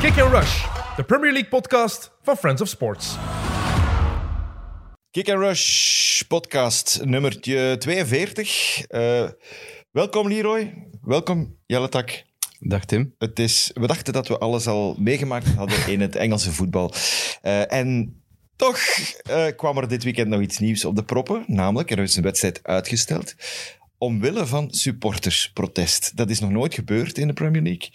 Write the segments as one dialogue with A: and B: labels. A: Kick and Rush, de Premier League podcast van Friends of Sports.
B: Kick and Rush podcast nummertje 42. Eh, welkom Leroy, welkom Jelletak.
C: Dag Tim.
B: Het is, we dachten dat we alles al meegemaakt hadden in het Engelse voetbal. Eh, en toch eh, kwam er dit weekend nog iets nieuws op de proppen. Namelijk, er is een wedstrijd uitgesteld. Omwille van supportersprotest. Dat is nog nooit gebeurd in de Premier League.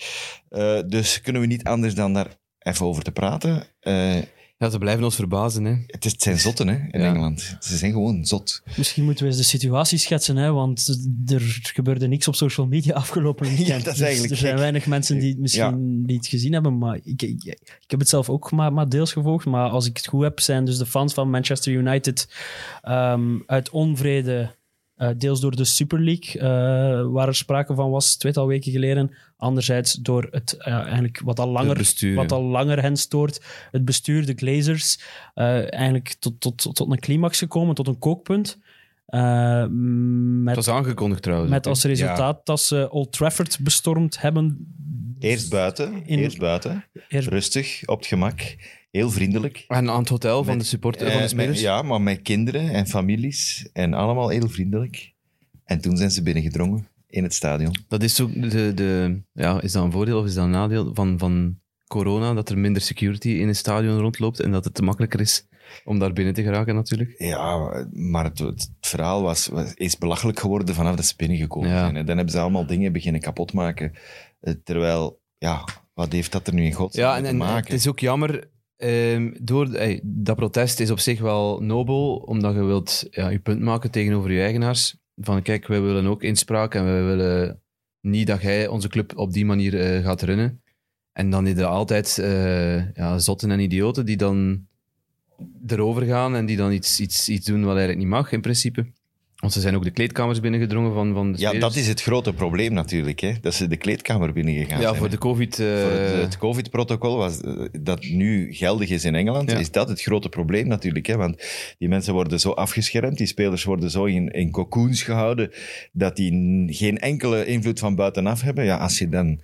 B: Eh, dus kunnen we niet anders dan daar even over te praten. Eh,
C: Ja, ze blijven ons verbazen, hè.
B: het, is, het zijn zotten hè, in
C: Ja.
B: Engeland. Ze zijn gewoon zot.
D: Misschien moeten we eens de situatie schetsen, hè, want er gebeurde niks op social media afgelopen weekend.
B: Ja, dat is
D: Dus
B: eigenlijk
D: er zijn
B: gek.
D: weinig mensen die het misschien niet gezien hebben, maar ik, ik, ik heb het zelf ook maar, maar deels gevolgd. Maar als ik het goed heb, zijn dus de fans van Manchester United ehm, uit onvrede, eh, deels door de Super League, eh, waar er sprake van was, tweetal weken geleden. Anderzijds door het eh, eigenlijk wat al langer
C: bestuur,
D: wat
C: ja.
D: al langer hen stoort. Het bestuur, de Glazers, eh, eigenlijk tot, tot, tot een climax gekomen, tot een kookpunt. Eh, met,
C: Het was aangekondigd trouwens.
D: met als resultaat dat ze Old Trafford bestormd hebben.
B: Eerst buiten,
D: In-
B: eerst buiten.
D: Eerst-
B: Rustig, op het gemak. Heel vriendelijk.
C: En aan het hotel van
B: Met-
C: de supporter van de
B: Eh, met-
C: spelers.
B: ja, maar met kinderen en families. En allemaal heel vriendelijk. En toen zijn ze binnengedrongen in het stadion.
C: Dat is ook de, de... Ja, is dat een voordeel of is dat een nadeel van, van corona? Dat er minder security in een stadion rondloopt en dat het te makkelijker is om daar binnen te geraken natuurlijk.
B: Ja, maar het, het verhaal was, was- is belachelijk geworden vanaf dat ze binnengekomen
C: Ja.
B: zijn. En dan hebben ze allemaal dingen beginnen kapotmaken. Eh, Terwijl, ja, wat heeft dat er nu in godsnaam
C: Ja, en,
B: te
C: en het
B: maken?
C: is ook jammer... ehm, door, ey, dat protest is op zich wel nobel, omdat je wilt ja, je punt maken tegenover je eigenaars. Van kijk, wij willen ook inspraak en wij willen niet dat jij onze club op die manier eh, gaat runnen. En dan is er altijd eh, ja, zotten en idioten die dan erover gaan en die dan iets, iets, iets doen wat eigenlijk niet mag, in principe. Want ze zijn ook de kleedkamers binnengedrongen van, van de
B: Ja,
C: spelers.
B: dat is het grote probleem natuurlijk. Hè? Dat ze de kleedkamer binnengegaan
C: Ja,
B: zijn.
C: voor de covid... eh,
B: Voor het, het COVID-protocol was, eh, dat nu geldig is in Engeland,
C: Ja.
B: is dat het grote probleem natuurlijk. Hè? Want die mensen worden zo afgeschermd, die spelers worden zo in, in cocoons gehouden, dat die n- geen enkele invloed van buitenaf hebben. Ja, als je dan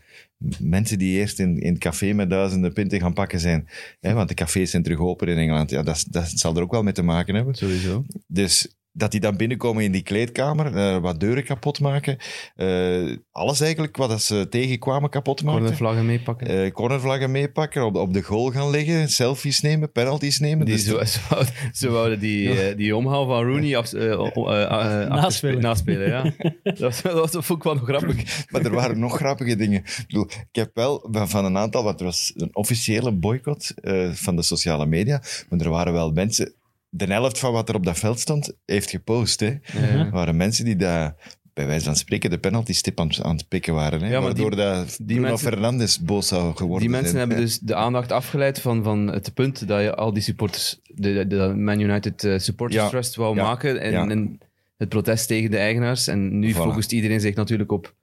B: mensen die eerst in, in het café met duizenden pinten gaan pakken zijn, hè, want de cafés zijn terug open in Engeland, ja, dat, is- dat zal er ook wel mee te maken hebben.
C: Sowieso.
B: Dus dat die dan binnenkomen in die kleedkamer, eh, wat deuren kapot maken, eh, alles eigenlijk wat dat ze tegenkwamen kapot maken
C: Cornervlaggen meepakken.
B: eh cornervlaggen meepakken, op, op de goal gaan liggen, selfies nemen, penalties nemen.
C: Die
B: Dus
C: zo, ze, wouden, ze wouden die, eh, die omhaal van Rooney af, eh, o- o- eh, eh, achter-
D: Naspelen.
C: naspelen, ja. dat, was, dat was- vond ik wel nog grappig.
B: Maar er waren nog grappige dingen. Ik, bedoel, ik heb wel van, van een aantal, want er was een officiële boycott eh, van de sociale media, maar er waren wel mensen... De helft van wat er op dat veld stond, heeft gepost. Hè. Er
C: Eh,
B: waren mensen die daar, bij wijze van spreken, de penalty-stip aan, aan het pikken waren. Hè,
C: Ja, maar die-
B: waardoor dat Bruno
C: mensen-
B: Fernandes boos zou geworden
C: die mensen
B: zijn.
C: hebben
B: Ja.
C: dus de aandacht afgeleid van, van het punt dat je al die supporters, de, de- de Man United eh, Supporters
B: Ja,
C: Trust wou
B: ja,
C: maken en,
B: ja.
C: en het protest tegen de eigenaars. En nu
B: Voilà.
C: focust iedereen zich natuurlijk op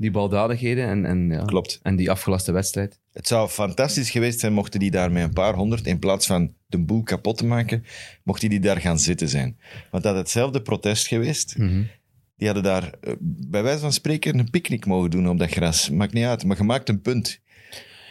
C: die baldadigheden en, en, ja,
B: Klopt.
C: en die afgelaste wedstrijd.
B: Het zou fantastisch geweest zijn mochten die daar met een paar honderd, in plaats van de boel kapot te maken, mochten die daar gaan zitten zijn. Want dat had hetzelfde protest geweest.
D: Mhm.
B: Die hadden daar, eh, bij wijze van spreken, een picknick mogen doen op dat gras. Maakt niet uit, maar je maakt een punt.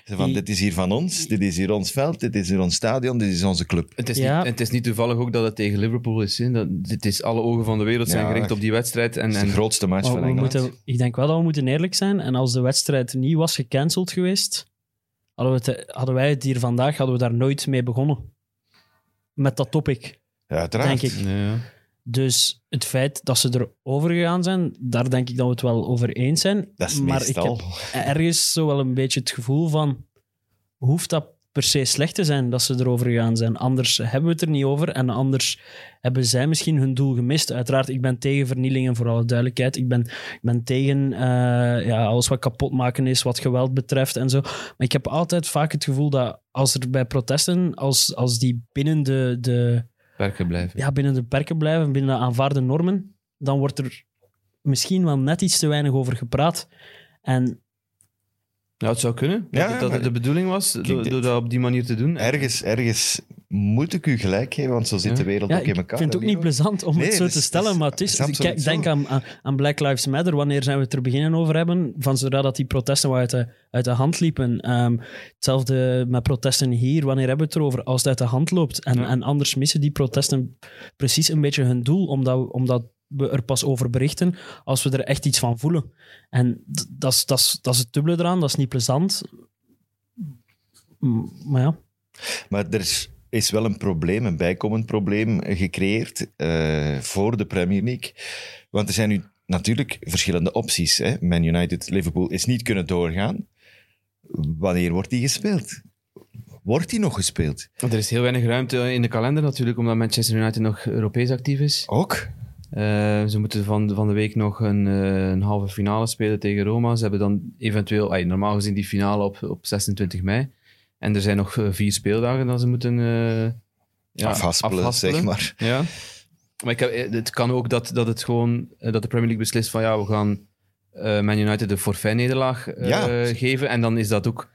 B: Zo Van,
D: Die-
B: dit is hier van ons, dit is hier ons veld, dit is hier ons stadion, dit is onze club.
C: Het is,
D: Ja.
C: niet, het is niet toevallig ook dat het tegen Liverpool is. Hè? Dat, het is alle ogen van de wereld zijn
B: Ja,
C: gericht op die wedstrijd. En,
B: Dat is de
C: en
B: grootste match
D: Maar
B: van
D: Oh, we
B: Engeland.
D: moeten, ik denk wel dat we moeten eerlijk zijn. En als de wedstrijd niet was gecanceld geweest, hadden, we het, hadden wij het hier vandaag hadden we daar nooit mee begonnen. Met dat topic,
B: Ja, uiteraard.
D: denk ik.
C: Ja.
D: Dus het feit dat ze erover gegaan zijn, daar denk ik dat we het wel over eens zijn.
B: Dat is
D: maar
B: meestal.
D: ik heb ergens zo wel een beetje het gevoel van... Hoeft dat per se slecht te zijn dat ze erover gegaan zijn? Anders hebben we het er niet over en anders hebben zij misschien hun doel gemist. Uiteraard, ik ben tegen vernielingen, voor alle duidelijkheid. Ik ben, ik ben tegen eh, ja, alles wat kapotmaken is, wat geweld betreft en zo. Maar ik heb altijd vaak het gevoel dat als er bij protesten, als, als die binnen de... de
C: Werken blijven.
D: ja, binnen de perken blijven, binnen de aanvaarde normen, dan wordt er misschien wel net iets te weinig over gepraat. En
C: Ja, Nou, het zou kunnen.
B: Ja,
C: dat
B: ja,
C: dat
B: maar-
C: het de bedoeling was, do- door,
B: dit-
C: dat op die manier te doen.
B: Ergens, ergens moet ik u gelijk geven, want zo zit
C: Ja.
B: de wereld
D: Ja,
B: ook in
D: ik
B: elkaar.
D: vind het ook
B: hè,
D: niet
B: Leroy?
D: plezant om
B: Nee,
D: het zo
B: dat is-
D: te stellen,
B: dat
D: maar het is...
B: is absoluut
D: Kijk, denk
B: zo.
D: aan, aan- aan Black Lives Matter. Wanneer zijn we het er beginnen over hebben? Van zodra dat die protesten wat uit de, uit de hand liepen. Ehm, hetzelfde met protesten hier. Wanneer hebben we het erover? Als het uit de hand loopt. En,
C: Ja.
D: en anders missen die protesten precies een beetje hun doel, omdat we, omdat we er pas over berichten als we er echt iets van voelen. En d- dat is- dat is dat is het dubbele eraan. Dat is niet plezant. Mm, Maar ja...
B: Maar er is, is wel een probleem, een bijkomend probleem eh, gecreëerd eh, voor de Premier League. Want er zijn nu natuurlijk verschillende opties. Hè? Man United, Liverpool is niet kunnen doorgaan. Wanneer wordt die gespeeld? Wordt die nog gespeeld?
C: Want er is heel weinig ruimte in de kalender natuurlijk, omdat Manchester United nog Europees actief is.
B: Ook?
C: Eh, ze moeten van, van de week nog een, eh, een halve finale spelen tegen Roma. Ze hebben dan eventueel, ay, normaal gezien, die finale op, op 26 mei. En er zijn nog eh, vier speeldagen dat ze moeten eh ja,
B: afhaspelen, zeg maar.
C: Ja. Maar ik heb, eh, het kan ook dat, dat, het gewoon, eh, dat de Premier League beslist van ja, we gaan eh Man United de forfait-nederlaag eh,
B: Ja.
C: geven. En dan is dat ook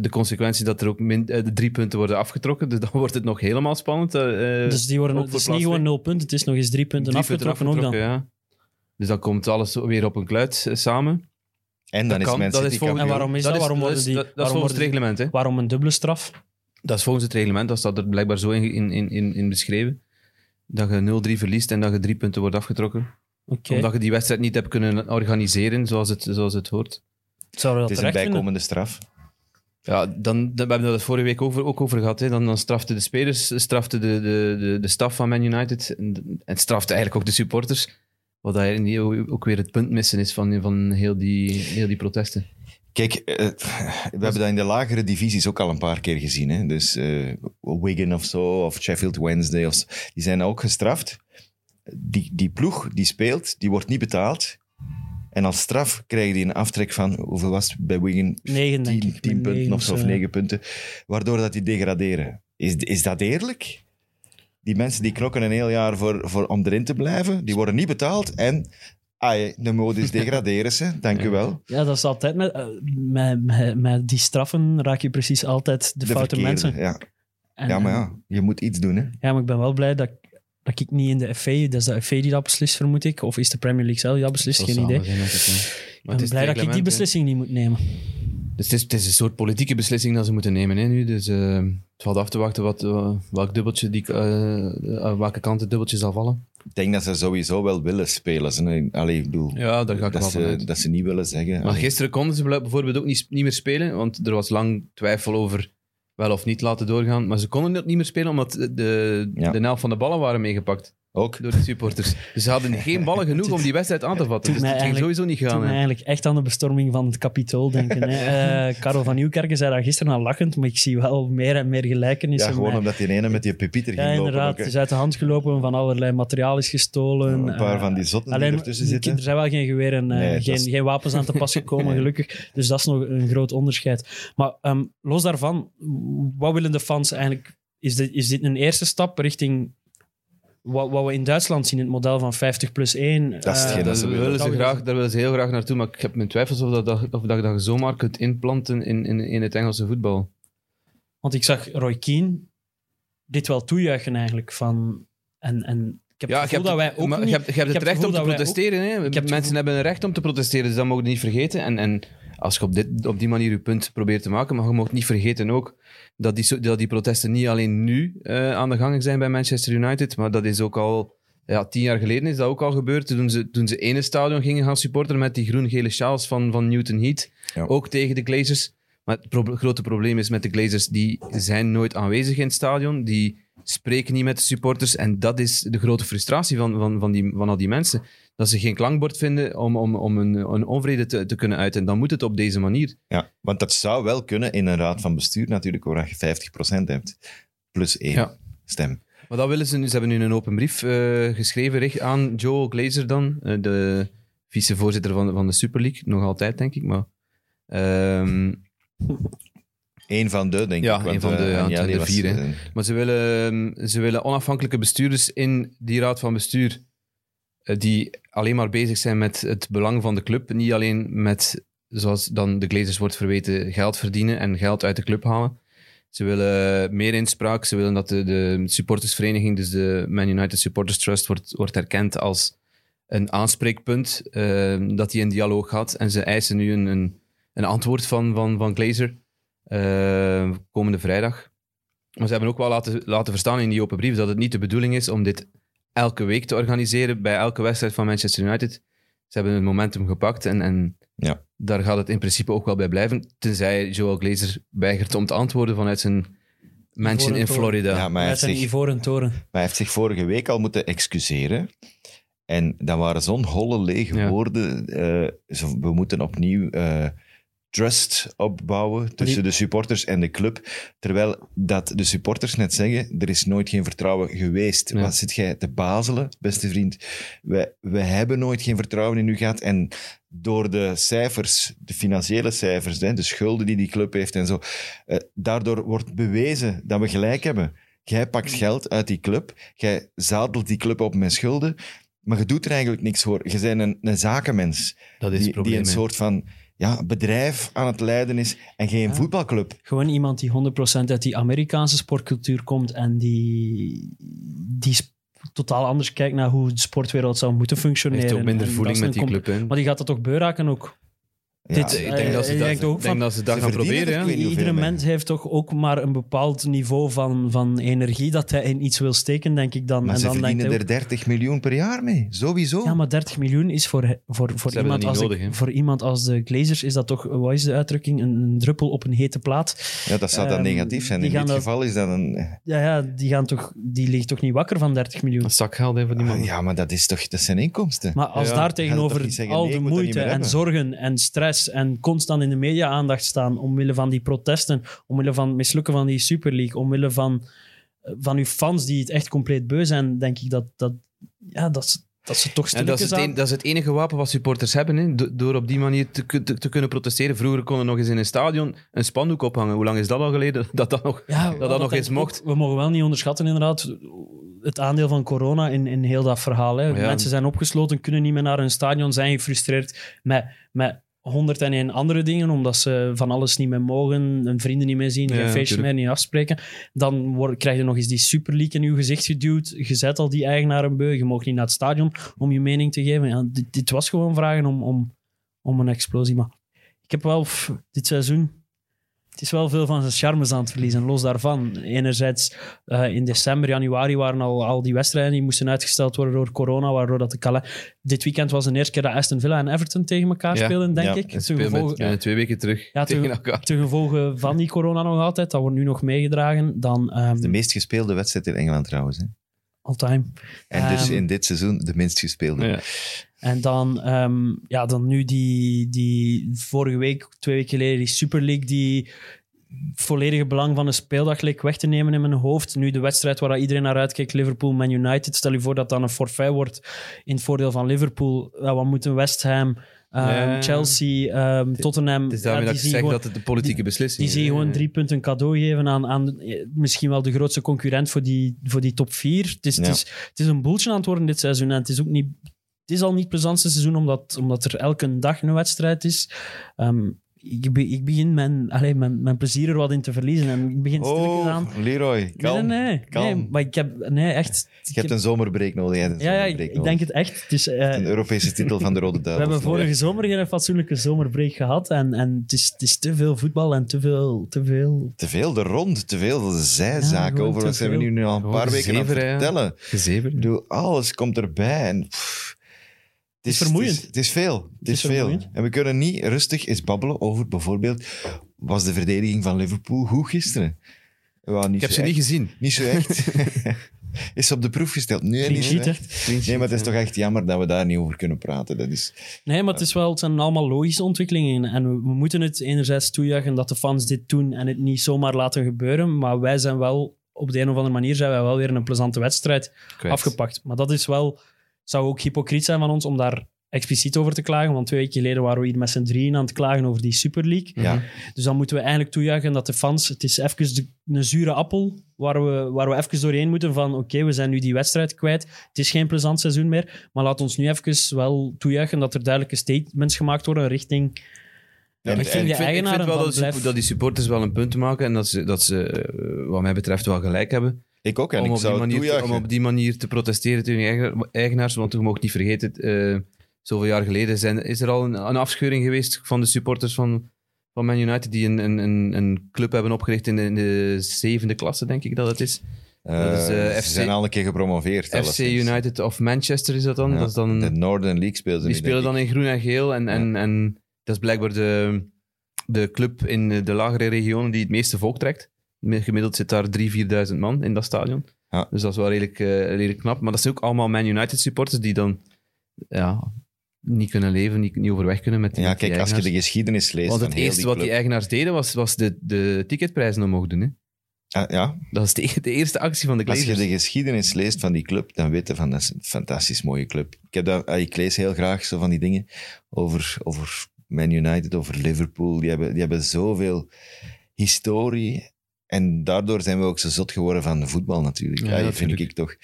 C: de consequentie dat er ook min, eh, de drie punten worden afgetrokken. Dus dan wordt het nog helemaal spannend. eh, eh,
D: Dus die worden,
C: ook
D: het
C: voor
D: is niet
C: plaats
D: gewoon
C: twee.
D: nul punten, het is nog eens drie punten
C: Drie
D: afgetrokken, ook dan.
C: afgetrokken, ja. Dus dan komt alles weer op een kluit eh, samen.
B: En dan
C: Dat kan,
B: is Man
C: dat
B: City
C: is volgens-
D: En waarom is dat? Waarom
C: dat,
D: worden
C: is,
D: die-
C: dat, dat is
D: waarom
C: volgens het
D: worden
C: reglement, hè?
D: Waarom een dubbele straf?
C: Dat is volgens het reglement. Dat staat er blijkbaar zo in, in, in, in- in beschreven. Dat je 0-3 verliest en dat je drie punten wordt afgetrokken.
D: Oké,
C: Omdat je die wedstrijd niet hebt kunnen organiseren zoals het, zoals het hoort.
D: zouden
B: Het
D: we dat
B: is een
D: terecht vinden?
B: bijkomende straf.
C: Ja, dan, dan, we hebben dat vorige week over, ook over gehad. Hè. Dan, dan strafte de spelers, strafte de, de, de, de staf van Man United en, en strafte eigenlijk ook de supporters. Wat daar in die- ook weer het punt missen is van, van heel, die, heel die protesten.
B: Kijk, eh, we hebben dat in de lagere divisies ook al een paar keer gezien. Hè? Dus eh, Wigan of zo, of Sheffield Wednesday, of, zo. die zijn ook gestraft. Die, die ploeg die speelt, die wordt niet betaald. En als straf krijgen die een aftrek van, hoeveel was het bij Wigan?
D: Negen, denk
B: 10
D: ik.
B: punten
D: Negen
B: of zo,
D: of
B: of
D: zo, ja.
B: 9 punten. Waardoor dat die degraderen. Is, is dat eerlijk? Die mensen die knokken een heel jaar voor, voor, om erin te blijven, die worden niet betaald. En, ah, de mode is degraderen ze, dank u wel.
D: Ja, dat is altijd met, eh, met, met, met die straffen raak je precies altijd de, foute
B: verkeerde,
D: mensen.
B: Ja.
D: En- eh,
B: ja, maar
C: eh,
B: ja, je moet iets doen. Hè?
D: Ja, maar ik ben wel blij dat, ik- dat ik niet in de FA, dat is de FA die dat beslist, vermoed ik. Of is de Premier League zelf die dat beslist, geen idee. Ik
C: Ik
D: ben blij dat ik die beslissing niet moet nemen.
C: Dus het is, het is een soort politieke beslissing dat ze moeten nemen hè, nu. Dus eh, het valt af te wachten wat, eh, welk dubbeltje die, eh, eh, welke kant het dubbeltje zal vallen.
B: Ik denk dat ze sowieso wel willen spelen. Ze- nee, Allee, ik bedoel,
C: Ja, daar ga ik
B: dat,
C: wel
B: ze, dat ze niet willen zeggen.
C: Maar
B: allee,
C: gisteren konden ze bijvoorbeeld ook niet, niet meer spelen, want er was lang twijfel over wel of niet laten doorgaan. Maar ze konden het niet meer spelen omdat de, de,
B: Ja.
C: de helft van de ballen waren meegepakt
B: Ook.
C: door de supporters. Dus ze hadden geen ballen genoeg om die wedstrijd aan te vatten.
D: doet
C: Dus
D: mij
C: het ging
D: eigenlijk-
C: sowieso niet
D: Toen
C: gaan. hè.
D: eigenlijk echt aan de bestorming van het kapitool denken. Hè. Eh, Karel van Nieuwkerken zei daar gisteren al lachend, maar ik zie wel meer en meer gelijkenissen.
B: Ja, gewoon
D: met-
B: omdat die ene met die pepieter
D: Ja,
B: ging lopen.
D: inderdaad.
B: ook, hè.
D: het is uit de hand gelopen, van allerlei materiaal is gestolen.
B: een paar
D: Eh,
B: van die zotten
D: alleen,
B: die ertussen
D: de
B: zitten.
D: kinderen zijn wel geen geweren, eh,
B: Nee, dat
D: geen,
B: is-
D: geen wapens aan te pas gekomen, gelukkig. Dus dat is nog een groot onderscheid. Maar ehm, los daarvan, wat willen de fans eigenlijk? Is dit, is dit een eerste stap richting wat, wat we in Duitsland zien, het model van 50 plus Eh, 1?
B: Dat is hetgeen
C: Ja,
B: dat
C: daar,
B: ze willen.
C: Eh, willen ze
D: Dat dus. willen
C: graag,
D: ze.
C: daar willen ze heel graag naartoe, maar ik heb mijn twijfels of dat, dat- of dat je dat zomaar kunt inplanten in, in, in het Engelse voetbal.
D: Want ik zag Roy Keane dit wel toejuichen eigenlijk. Van, en, en ik heb
C: Ja,
D: het
C: je
D: gevoel
C: hebt,
D: dat wij ook
C: maar
D: niet-
C: je hebt, je hebt
D: ik
C: het
D: heb
C: recht om te
D: gevoel dat wij ook-
C: protesteren. Hè?
D: het
C: Mensen
D: gevoel-
C: hebben een recht om te protesteren, dus dat mogen we niet vergeten. En, en als je op, dit, op die manier je punt probeert te maken, maar je mag niet vergeten ook dat die, so- dat die protesten niet alleen nu eh, aan de gang zijn bij Manchester United, maar dat is ook al... Ja, tien jaar geleden is dat ook al gebeurd. Toen ze, toen ze ene stadion gingen gaan supporteren met die groen-gele sjaals van, van Newton Heat.
B: Ja.
C: Ook tegen de Glazers. Maar het proble- grote probleem is met de Glazers, die zijn nooit aanwezig in het stadion. Die spreken niet met de supporters. En dat is de grote frustratie van, van, van, die, van al die mensen. Dat ze geen klankbord vinden om, om, om een, een onvrede te, te kunnen uiten. En dan moet het op deze manier.
B: Ja, want dat zou wel kunnen in een raad van bestuur natuurlijk, waar je 50% hebt. Plus één
C: Ja.
B: stem.
C: Maar dat willen ze nu. Ze hebben nu een open brief eh, geschreven richt aan Joe Glazer dan, eh, de vicevoorzitter van, van de Super League. Nog altijd, denk ik. Maar, ehm,
B: Eén van de, denk
C: Ja,
B: ik. want,
C: één van de,
B: eh,
C: ja, het
B: Agnelli
C: zijn er
B: was,
C: vier, hè.
B: eh,
C: maar ze, willen, ehm, ze willen onafhankelijke bestuurders in die raad van bestuur eh, die alleen maar bezig zijn met het belang van de club. Niet alleen met zoals dan de Glazers wordt verweten, geld verdienen en geld uit de club halen. Ze willen meer inspraak. Ze willen dat de, de supportersvereniging, dus de Man United Supporters Trust, wordt, wordt herkend als een aanspreekpunt. ehm, dat die in dialoog gaat. En ze eisen nu een, een, een antwoord van, van, van Glazer ehm, komende vrijdag. Maar ze hebben ook wel laten, laten verstaan in die open brief dat het niet de bedoeling is om dit elke week te organiseren bij elke wedstrijd van Manchester United. Ze hebben het momentum gepakt en, en
B: Ja.
C: daar gaat het in principe ook wel bij blijven. Tenzij Joel Glazer weigert om te antwoorden vanuit zijn mansion in
D: Toren.
B: Ja,
C: Florida.
B: maar hij
D: Met
B: heeft,
D: zijn
B: zich,
D: ivoren toren.
B: maar hij heeft zich vorige week al moeten excuseren. En dat waren zo'n holle, lege
C: Ja.
B: woorden. Eh, zo- we moeten opnieuw eh, trust opbouwen tussen de supporters en de club. Terwijl dat de supporters net zeggen, er is nooit geen vertrouwen geweest.
C: Ja.
B: Wat zit jij te bazelen, beste vriend? We, we hebben nooit geen vertrouwen in u gehad. En door de cijfers, de financiële cijfers, hè, de schulden die die club heeft en zo, eh, daardoor wordt bewezen dat we gelijk hebben. Jij pakt
D: Mm.
B: geld uit die club, jij zadelt die club op met schulden, maar je doet er eigenlijk niks voor. Je bent een, een zakenmens
C: Dat is het
B: die, die
C: probleem.
B: een
C: hè.
B: soort van ja, bedrijf aan het leiden is en geen
D: Ja.
B: voetbalclub.
D: Gewoon iemand die 100% uit die Amerikaanse sportcultuur komt en die, die sp- totaal anders kijkt naar hoe de sportwereld zou moeten
C: Hij
D: functioneren.
C: heeft ook minder
D: En
C: voeling
D: dat is
C: met die
D: een comp-
C: club. hè.
D: Maar die gaat dat toch beuraken ook?
B: Ja,
D: Dit-
B: eh,
C: Ik denk
D: eh,
C: dat ze
D: ik
C: dat,
D: denk ook
C: ik denk
D: van-
C: dat, ze dat
B: Ze
C: gaan
B: verdienen
C: proberen.
B: het
C: ja.
B: niet hoeveel
D: Iedere
B: mee.
D: mens heeft toch ook maar een bepaald niveau van, van energie dat hij in iets wil steken, denk ik dan.
B: maar
D: eh, en
B: ze
D: dan denkt
B: verdienen
D: hij ook-
B: er 30 miljoen per jaar mee, sowieso.
D: Ja, maar 30 miljoen is voor, voor, voor,
C: hebben dat
D: iemand,
C: niet
D: als
C: nodig,
D: de,
C: hè?
D: voor iemand als de Glazers is dat toch, wat is de uitdrukking, een, een druppel op een hete plaat.
B: Ja, dat zou dan
D: Ehm,
B: negatief zijn.
D: die
B: In dit
D: gaan dat-
B: geval is dat een...
D: Ja, ja die, gaan toch, die liggen toch niet wakker van 30 miljoen?
C: Een zak geld hè, voor die man.
B: Ja, maar dat, is toch, dat zijn inkomsten.
D: Maar als
C: Ja,
D: daar
B: toch
D: tegenover
B: niet zeggen,
D: al
B: nee,
D: de
B: ik moet dat
D: moeite
B: niet meer
D: en
B: hebben.
D: zorgen en stress en constant in de media-aandacht staan omwille van die protesten, omwille van het mislukken van die Super League, omwille van, eh, van uw fans die het echt compleet beu zijn, denk ik dat, dat, ja, dat, ze- dat ze toch
C: En dat, is
D: stilletjes
C: het
D: aan...
C: en- dat is het enige wapen wat supporters hebben, hè? do- door op die manier te, kun- te, te kunnen protesteren. Vroeger konden nog eens in een stadion een spandoek ophangen. Hoe lang is dat al geleden? Dat dat nog...
D: Ja,
C: dat nog
D: denk
C: eens
D: ik
C: mocht.
D: ook. We mogen wel niet onderschatten, inderdaad, het aandeel van corona in, in heel dat verhaal. Hè.
C: Maar ja.
D: Mensen zijn opgesloten, kunnen niet meer naar hun stadion, zijn gefrustreerd met, met 101 andere dingen, omdat ze van alles niet meer mogen, hun vrienden niet meer zien, geen
C: Ja,
D: feestje
C: tuurlijk.
D: meer, niet afspreken. Dan word, krijg je nog eens die Super League in je gezicht geduwd. Je zet al die eigenaren beu, je mag niet naar het stadion om je mening te geven. Ja, dit, dit was gewoon vragen om, om, om een explosie. Maar ik heb wel pff, dit seizoen. Het is wel veel van zijn charmes aan het verliezen. Los daarvan. Enerzijds eh, in december, januari waren al, al die wedstrijden die moesten uitgesteld worden door corona, waardoor dat de kale... Dit weekend was de eerste keer dat Aston Villa en Everton tegen elkaar
C: Ja.
D: spelen, denk
B: Ja.
D: ik.
C: En
D: Ten
C: speel
D: gevolge,
C: met, met twee weken terug
D: Ja,
C: tegen
D: toen-
C: elkaar.
D: ten gevolge van die corona nog altijd. Dat wordt nu nog meegedragen. Dan ehm,
B: De meest gespeelde wedstrijd in Engeland trouwens. Hè.
D: all time.
B: En dus
D: Ehm,
B: in dit seizoen de minst gespeelde.
C: Ja.
D: En dan, ehm, ja, dan nu die, die vorige week, twee weken geleden, die Super League, die volledige belang van een speeldag leek weg te nemen in mijn hoofd. Nu de wedstrijd waar iedereen naar uitkijkt, Liverpool, Man United. Stel je voor dat dan een forfait wordt in het voordeel van Liverpool. Ja, wat moeten West Ham, ehm,
C: Ja.
D: Chelsea, ehm, Tottenham...
C: Het is daarmee
D: ja,
C: dat ik
D: die zien
C: zeg
D: gewoon-
C: dat het de politieke beslissing
D: die
C: is.
D: zien gewoon
C: Ja.
D: drie punten cadeau geven aan, aan eh, misschien wel de grootste concurrent voor die, voor die top vier. Het is,
B: Ja.
D: het, is, het is een boeltje aan het worden dit seizoen. En het is ook niet... Het is al niet het plezantste seizoen, omdat, omdat er elke dag een wedstrijd is. Ehm, ik, be- ik begin mijn, allee, mijn, mijn plezier er wat in te verliezen. En ik begin stilletjes aan...
B: Oh, Leroy,
D: nee,
B: kalm.
D: nee, nee,
B: kalm.
D: nee, Maar ik heb... Nee, echt...
B: Je
D: ik
B: hebt een zomerbreek nodig. jij hebt een
D: ja, ja, ik,
B: zomerbreek
D: ik
B: nodig.
D: denk het echt. Het is, eh,
B: Een Europese titel van de Rode
D: we
B: Duivels.
D: hebben
B: nodig.
D: vorige zomer geen fatsoenlijke zomerbreek gehad. En, en het, is, het is te veel voetbal en te veel, te veel
B: Te veel de rond, te veel de zijzaken
D: Ja,
B: over.
D: te
B: Wat zijn we
D: veel.
B: nu al een
C: Gewoon
B: paar weken aan het
C: gezever, hè, ja.
B: vertellen?
C: Gezever.
B: Ik bedoel, alles komt erbij. En, pff, het,
D: is vermoeiend.
B: Het is, het is veel. Het, is,
D: is
B: veel.
D: vermoeiend.
B: En we kunnen niet rustig eens babbelen over bijvoorbeeld... Was de verdediging van Liverpool goed gisteren? Wel, niet
C: Ik heb
B: zo
C: ze
B: echt.
C: niet gezien.
B: Niet zo echt. is ze op de proef gesteld? Nee,
D: clean
B: niet zo
D: sheet, hè.
B: echt. Nee, maar het is toch echt jammer dat we daar niet over kunnen praten. Dat is...
D: Nee, maar het, is wel, het zijn allemaal logische ontwikkelingen. En we, we moeten het enerzijds toejuichen dat de fans dit doen en het niet zomaar laten gebeuren. Maar wij zijn wel, op de een of andere manier, zijn wij wel weer een plezante wedstrijd
C: Kwijt.
D: afgepakt. Maar dat is wel, het zou ook hypocriet zijn van ons om daar expliciet over te klagen. Want twee weken geleden waren we hier met z'n drieën aan het klagen over die Super League.
C: Mhm.
B: Ja.
D: Dus dan moeten we eigenlijk toejuichen dat de fans... Het is even de, een zure appel waar we, waar we even doorheen moeten van oké, we zijn nu die wedstrijd kwijt. Het is geen plezant seizoen meer. Maar laat ons nu even wel toejuichen dat er duidelijke statements gemaakt worden richting ik
B: het
D: vind
B: eind-
D: de eigenaren
C: wel
D: van
C: dat,
D: Blijf-
C: dat die supporters wel een punt maken en dat ze, dat ze eh, wat mij betreft wel gelijk hebben.
B: ik ook, en
C: om,
B: ik
C: op die
B: zou het
C: manier te, om
B: toejuichen.
C: op die manier te protesteren tegen je eigen- eigenaars. Want je mag niet vergeten, eh, zoveel jaar geleden zijn, is er al een, een afscheuring geweest van de supporters van, van Man United. Die een, een, een, een club hebben opgericht in de, in de zevende klasse, denk ik dat het is.
B: Eh,
C: dat is, eh,
B: ze
C: FC
B: zijn al een keer gepromoveerd.
C: FC
B: alleszins.
C: United of Manchester is dat dan.
B: Ja,
C: dat is dan
B: De Northern League speelden
C: die spelen dan in groen en geel. En, en, en dat is blijkbaar de, de club in de lagere regionen die het meeste volk trekt. Gemiddeld zit daar 3.000, 4.000 man in dat stadion.
B: Ja.
C: Dus dat is wel redelijk, eh, redelijk knap. Maar dat zijn ook allemaal Man United supporters die dan ja, niet kunnen leven, niet, niet overweg kunnen met die
B: Ja,
C: met die
B: kijk, als je de
C: eigenaars.
B: geschiedenis leest
C: Want
B: van
C: het
B: heel
C: eerste
B: die
C: wat
B: club-
C: die eigenaars deden was, was de, de ticketprijzen omhoog doen. Hè.
B: Ah, ja,
C: Dat is de, de eerste actie van de
B: als je
C: Glazers.
B: de geschiedenis leest van die club, dan weet je van, dat is een fantastisch mooie club. Ik, heb dat, ah, ik lees heel graag zo van die dingen over, over Man United, over Liverpool. Die hebben, die hebben zoveel historie. En daardoor zijn we ook zo zot geworden van voetbal natuurlijk.
C: Ja,
B: Ja, vind
C: natuurlijk.
B: ik toch.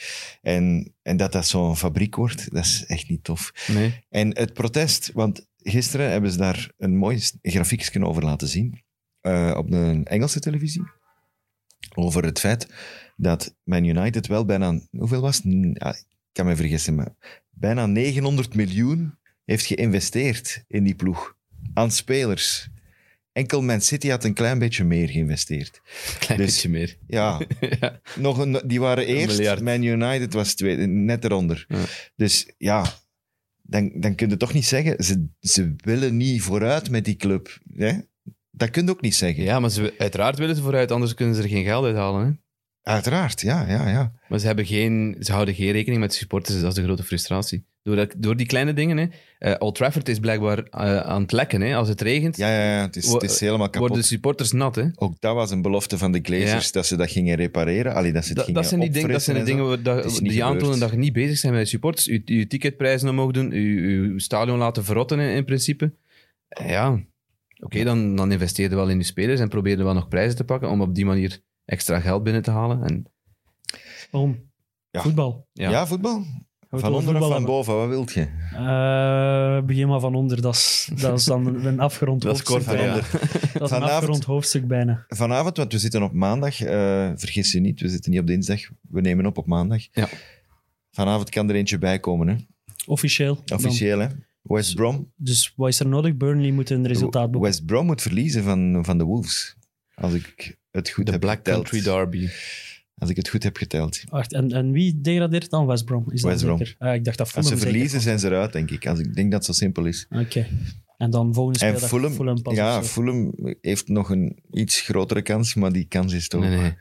B: En, en dat dat zo'n fabriek wordt, dat is echt niet tof.
C: Nee.
B: En het protest, want gisteren hebben ze daar een mooi s- grafiekje over laten zien eh, op de Engelse televisie. Over het feit dat Man United wel bijna, hoeveel was het? N- ja, ik kan me vergissen, maar bijna 900 miljoen heeft geïnvesteerd in die ploeg. Aan spelers. Enkel Man City had een klein beetje meer geïnvesteerd.
C: Klein
B: Dus-
C: beetje meer.
B: Ja,
C: ja.
B: nog een, die waren eerst.
C: miljard.
B: Man United was tweede, net eronder.
C: Ja.
B: Dus ja, dan, dan kun je toch niet zeggen. Ze, ze willen niet vooruit met die club. Hè? Dat kun je ook niet zeggen.
C: ja, maar ze, uiteraard willen ze vooruit, anders kunnen ze er geen geld uit halen. Hè.
B: Uiteraard, ja, ja, ja.
C: Maar ze, hebben geen, ze houden geen rekening met de supporters, dus dat is de grote frustratie. Door, dat, door die kleine dingen, hè. Eh, Old Trafford is blijkbaar eh, aan het lekken. Hè. Als het regent,
B: Ja, ja, ja het, is, het is helemaal
C: worden
B: kapot.
C: de supporters nat. Hè.
B: Ook dat was een belofte van de Glazers, dat ze dat gingen repareren. Allee, dat ze het
C: Dat,
B: gingen
C: dat zijn die dingen, dat zijn de
B: opfrissen
C: dingen
B: en
C: waar-
B: Het is
C: dat,
B: niet
C: die aantonen
B: gebeurd.
C: dat je niet bezig bent met de supporters. Je, je ticketprijzen omhoog doen, je, je stadion laten verrotten in, in principe. Eh, Ja, oké, dan, dan investeer je wel in je spelers en probeer je wel nog prijzen te pakken om op die manier extra geld binnen te halen. En,
D: Waarom?
B: Ja.
D: Voetbal.
B: zo. Ja, voetbal.
D: Gaan we het
B: Van
D: over
B: onder of
D: voetbal
B: van
D: hebben?
B: boven, wat wilt je?
D: Eh, begin maar van onder. Dat is, dat is dan een afgerond
C: Dat is
D: hoofdstuk.
C: kort,
D: bijna.
C: ja.
D: Dat is een
B: Vanavond-
D: afgerond hoofdstuk bijna.
B: vanavond, want we zitten op maandag. eh, vergis je niet, we zitten niet op dinsdag. We nemen op op maandag.
C: Ja.
B: Vanavond kan er eentje bij komen, hè?
D: Officieel. dan.
B: officieel. Hè? West Brom.
D: Dus wat is er nodig? Burnley moet een resultaat boeken.
B: West Brom moet verliezen van, van de Wolves. Als ik het goed
C: de
B: heb
C: Black
B: geteld.
C: Country Derby.
B: Als ik het goed heb geteld.
D: Wacht, en, en wie degradeert dan? West Brom? Is dat
B: West Brom.
D: zeker? Ah, ik dacht dat
B: Als
D: Fulham
B: ze
D: zeker
B: verliezen, zijn ze eruit, denk ik. Als ik denk dat het zo simpel is.
D: was. Oké. En dan volgende
B: En
D: speeldag
B: Fulham,
D: pas
B: ja,
D: of zo.
B: Fulham heeft nog een iets grotere kans, maar die kans is toch
C: Nee, nee.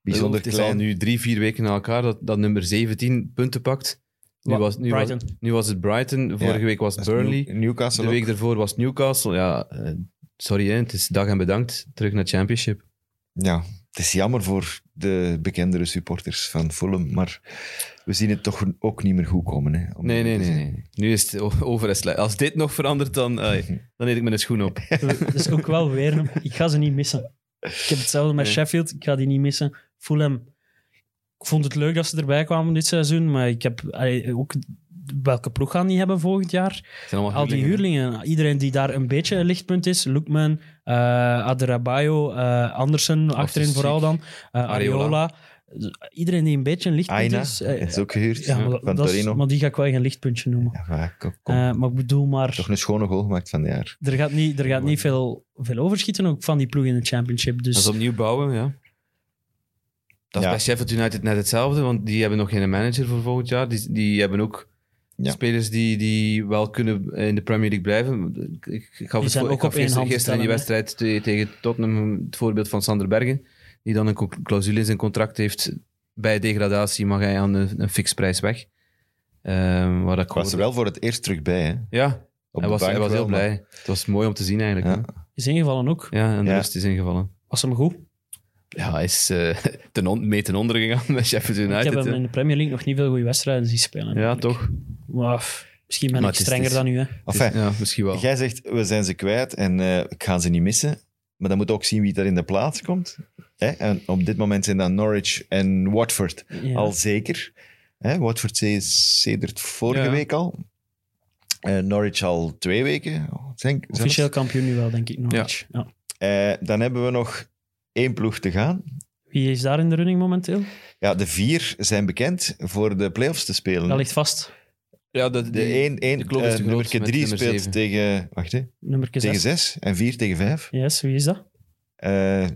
B: bijzonder
C: het is al
B: klein.
C: nu drie, vier weken na elkaar dat, dat nummer 17 punten pakt. Nu
D: Wa-
C: was, nu, was,
D: Brighton.
C: nu was het Brighton, vorige
B: Ja,
C: week was
B: Dat
C: het
B: is New-
C: Burnley,
B: Newcastle
C: de
B: ook.
C: week daarvoor was Newcastle. Ja, eh, sorry, hè, het is dag en bedankt. Terug naar Championship.
B: Ja, het is jammer voor de bekendere supporters van Fulham, maar we zien het toch ook niet meer goed komen. Hè, om
C: Nee, nee,
B: eerlijk te
C: nee.
B: zijn.
C: nee. Nu is het o- over en sluit. Als dit nog verandert, dan, ai, dan eet ik mijn schoen op.
D: Dus ook wel weer. een- Ik ga ze niet missen. Ik heb hetzelfde met Sheffield. Ik ga die niet missen. Fulham. Ik vond het leuk dat ze erbij kwamen dit seizoen. Maar ik heb allee, ook. Welke ploeg gaan die hebben volgend jaar?
C: Het zijn allemaal
D: Al die
C: huurlingen,
D: huurlingen. Iedereen die daar een beetje een lichtpunt is. Lookman, eh Adebayo, eh, Andersen achterin
C: Ziek.
D: vooral dan. eh,
C: Areola.
D: Areola. Iedereen die een beetje een lichtpunt
B: Aina,
D: is.
B: dat
D: eh,
B: is ook gehuurd
D: ja, maar,
B: van
D: dat is-
B: Torino.
D: maar die ga ik wel geen lichtpuntje noemen.
B: Ja, maar kom, kom.
D: Eh, maar ik bedoel maar...
B: toch een schone goal gemaakt van het jaar.
D: Er gaat niet, er gaat niet veel, veel overschieten ook van die ploeg in de championship.
C: hè. Dat
D: Dus
C: is opnieuw bouwen, ja. Dat is
B: Ja.
C: bij Sheffield United net hetzelfde, want die hebben nog geen manager voor volgend jaar. Die, die hebben ook
B: Ja.
C: spelers die, die wel kunnen eh, in de Premier League blijven. Ik- Ik gaf
D: Die
C: het
D: zijn
C: voor-
D: ook
C: ik gaf
D: op één
C: gisteren,
D: hand te
C: gisteren in die
D: tellen,
C: wedstrijd te- tegen Tottenham het voorbeeld van Sander Bergen, die dan een co- clausule in zijn contract heeft. Bij degradatie mag hij aan een, een fiksprijs weg. Ehm, waar dat
B: Ik was er wel voor het eerst terug bij. Hè.
C: Ja,
B: Op
C: hij
B: de
C: was, hij
B: bank
C: was
B: wel,
C: heel
B: maar-
C: blij. Het was mooi om te zien eigenlijk.
B: Ja.
C: Ja,
D: is ingevallen ook.
C: ja en de
B: Ja.
C: rust is ingevallen.
D: Was hem goed.
C: Ja, hij is eh, ten on- mee ten onder gegaan bij Sheffield
D: Ik
C: United.
D: heb hem
C: hè.
D: in de Premier League nog niet veel goede wedstrijden zien spelen.
C: Ja, toch?
D: Maar, pff, misschien ben
C: Maar
D: ik
C: het is-
D: strenger
C: het is-
D: dan u. Hè.
B: Enfin,
C: Ja, misschien wel.
B: jij zegt, we zijn ze kwijt en eh, ik ga ze niet missen. Maar dan moet ook zien wie daar in de plaats komt. Hè? En op dit moment zijn dat Norwich en Watford.
D: Ja.
B: al zeker. Hè, Watford zei sedert vorige
C: Ja.
B: week al. Eh, Norwich al twee weken, denk ik. zelfs.
D: Officieel kampioen nu wel, denk ik. Norwich. Ja.
B: Eh, dan hebben we nog één ploeg te gaan.
D: Wie is daar in de running momenteel?
B: Ja, de vier zijn bekend voor de play-offs te spelen.
D: Dat ligt vast.
C: Ja, dat,
B: de één, één,
C: de kloof is
B: eh,
C: te groot
B: nummer
C: met
B: 3
C: nummer
B: speelt
C: zeven.
B: tegen, wacht, hè,
D: Nummer
B: tegen
D: 6.
B: 6 en 4 tegen 5.
D: Yes, wie is dat?
B: Eh